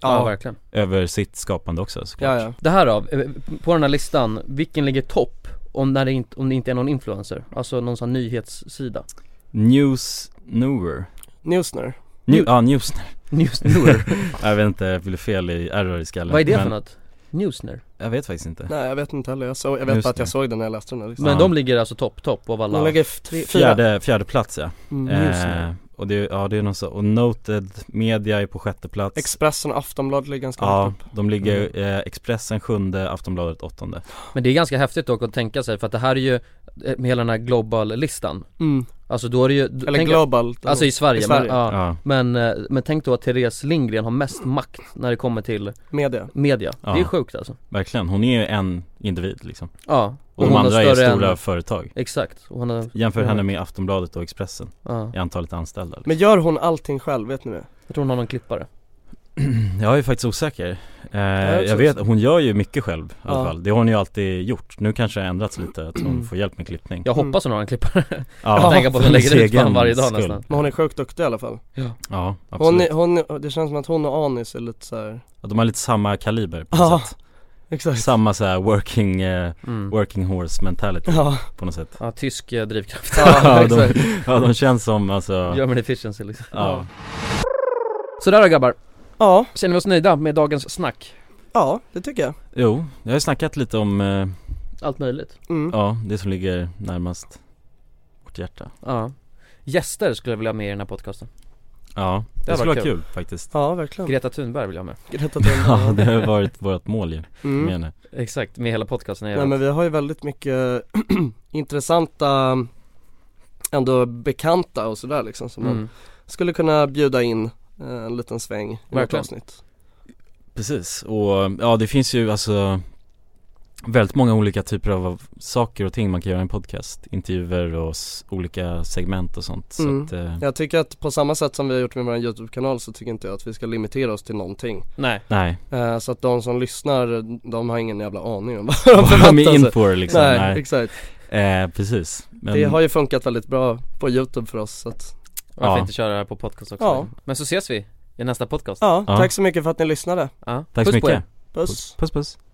D: Ja, verkligen.
B: Över sitt skapande också såklart
D: ja, ja. Det här då, eh, på den här listan, vilken ligger topp? Om, när det inte, om det inte är någon influencer, alltså någon sån här nyhetssida
B: News Newer
E: Newsner
B: New, ja, Newsner
D: Newsner.
B: Jag vet inte, jag blev fel i error i skallen
D: Vad är det för
B: men-
D: något? Newsner?
B: Jag vet faktiskt inte
E: Nej jag vet inte heller, jag, såg, jag vet
B: Just
E: bara att jag
B: det.
E: såg den när jag läste den här listan.
D: Men de ligger alltså topp, topp av alla
E: De ligger f- tre-
B: Fjärde, fjärde plats ja
E: Mm.
B: eh,
E: Newsner.
B: Och det, ja det är någon så, och Noted Media är på sjätte plats
E: Expressen och Aftonbladet ligger ganska
B: Ja,
E: högt upp.
B: de ligger,
D: Mm.
B: eh, Expressen sjunde, Aftonbladet åttonde
D: Men det är ganska häftigt dock att tänka sig för att det här är ju eh, med hela den här global-listan
E: Mm.
D: Alltså då är det ju
E: Eller global,
D: Alltså i Sverige,
E: i Sverige.
D: Men, ja.
E: Ja.
D: Men, eh, men tänk då att Therese Lindgren har mest makt när det kommer till
E: Media
D: Media, det är
B: Ja.
D: sjukt alltså
B: Verkligen, hon är ju en individ liksom
D: Ja,
B: Och, de
D: och hon har
B: andra är
D: större
B: stora
D: än-
B: företag
D: Exakt, och hon har-
B: Jämför
D: Ja.
B: henne med Aftonbladet och Expressen
D: Ja.
B: i antalet anställda liksom.
E: Men gör hon allting själv, vet ni det?
D: Jag tror hon har någon klippare
B: Jag är faktiskt osäker eh,
E: är också
B: Jag vet, hon gör ju mycket själv i alla
D: Ja.
B: fall Det har hon ju alltid gjort, nu kanske det har ändrats lite att hon får hjälp med klippning
D: Jag
E: Mm.
D: hoppas hon har en klippare
B: Ja.
D: Jag kan tänka på att
B: För
D: hon
B: hennes
D: lägger ut fan
B: egen
D: varje dag
B: skull.
D: nästan
E: Men hon är sjukt duktig i alla fall
D: Ja.
B: Ja,
E: hon,
B: absolut.
E: är- hon, är- det känns som att hon och Anis är lite såhär
B: Att de har lite samma kaliber på
E: Ja,
B: något sätt
E: exakt.
B: Samma så här working,
D: Mm.
B: eh,
E: Mm.
B: working horse mentality
E: Ja.
B: på något sätt
D: Ja, tysk eh, drivkraft
B: de, ja, de känns som alltså
D: German efficiency liksom
B: Ja.
D: Sådär då grabbar
E: Ja
D: Känner vi oss nöjda med dagens snack?
E: Ja, det tycker jag
B: Jo, jag har ju snackat lite om, eh,
D: Allt möjligt
E: Mm.
B: ja, det som ligger närmast vårt hjärta
D: Ja Gäster skulle jag vilja ha med i den här podcasten
B: Ja, det, skulle
D: hade
B: vara
D: varit
B: kul faktiskt
E: Ja, verkligen
D: Greta Thunberg vill jag ha med
E: Greta Thunberg,
B: Ja, det har varit vårt mål ju,
E: Mm.
B: med henne
D: Exakt, med hela podcasten
E: Nej men vi har ju väldigt mycket intressanta Ändå bekanta och sådär liksom som
D: Mm.
E: man skulle kunna bjuda in eh, en liten sväng i något
B: Verkligen.
E: avsnitt
B: Precis, och ja det finns ju alltså väldigt många olika typer av saker och ting man kan göra i en podcast Intervjuer och s- olika segment och sånt
E: Mm.
B: så att, eh,
E: Jag tycker att på samma sätt som vi har gjort med vår YouTube-kanal så tycker inte jag att vi ska limitera oss till någonting
D: Nej.
B: Nej.
E: Eh, Så att de som lyssnar, de har ingen jävla aning om vad de
B: Vad de
E: förväntar
B: är
E: sig
B: in på liksom,
E: alltså, Nej,
B: nej.
E: exakt
B: Eh, precis Men-
E: Det har ju funkat väldigt bra på YouTube för oss så att
D: Varför
B: Ja.
D: inte köra det här på podcast också?
E: Ja.
D: Men så ses vi i nästa podcast
E: Ja, tack så mycket för att ni lyssnade
D: Ja.
B: Tack så
D: Puss på
B: mycket
D: er.
E: Puss
B: Puss puss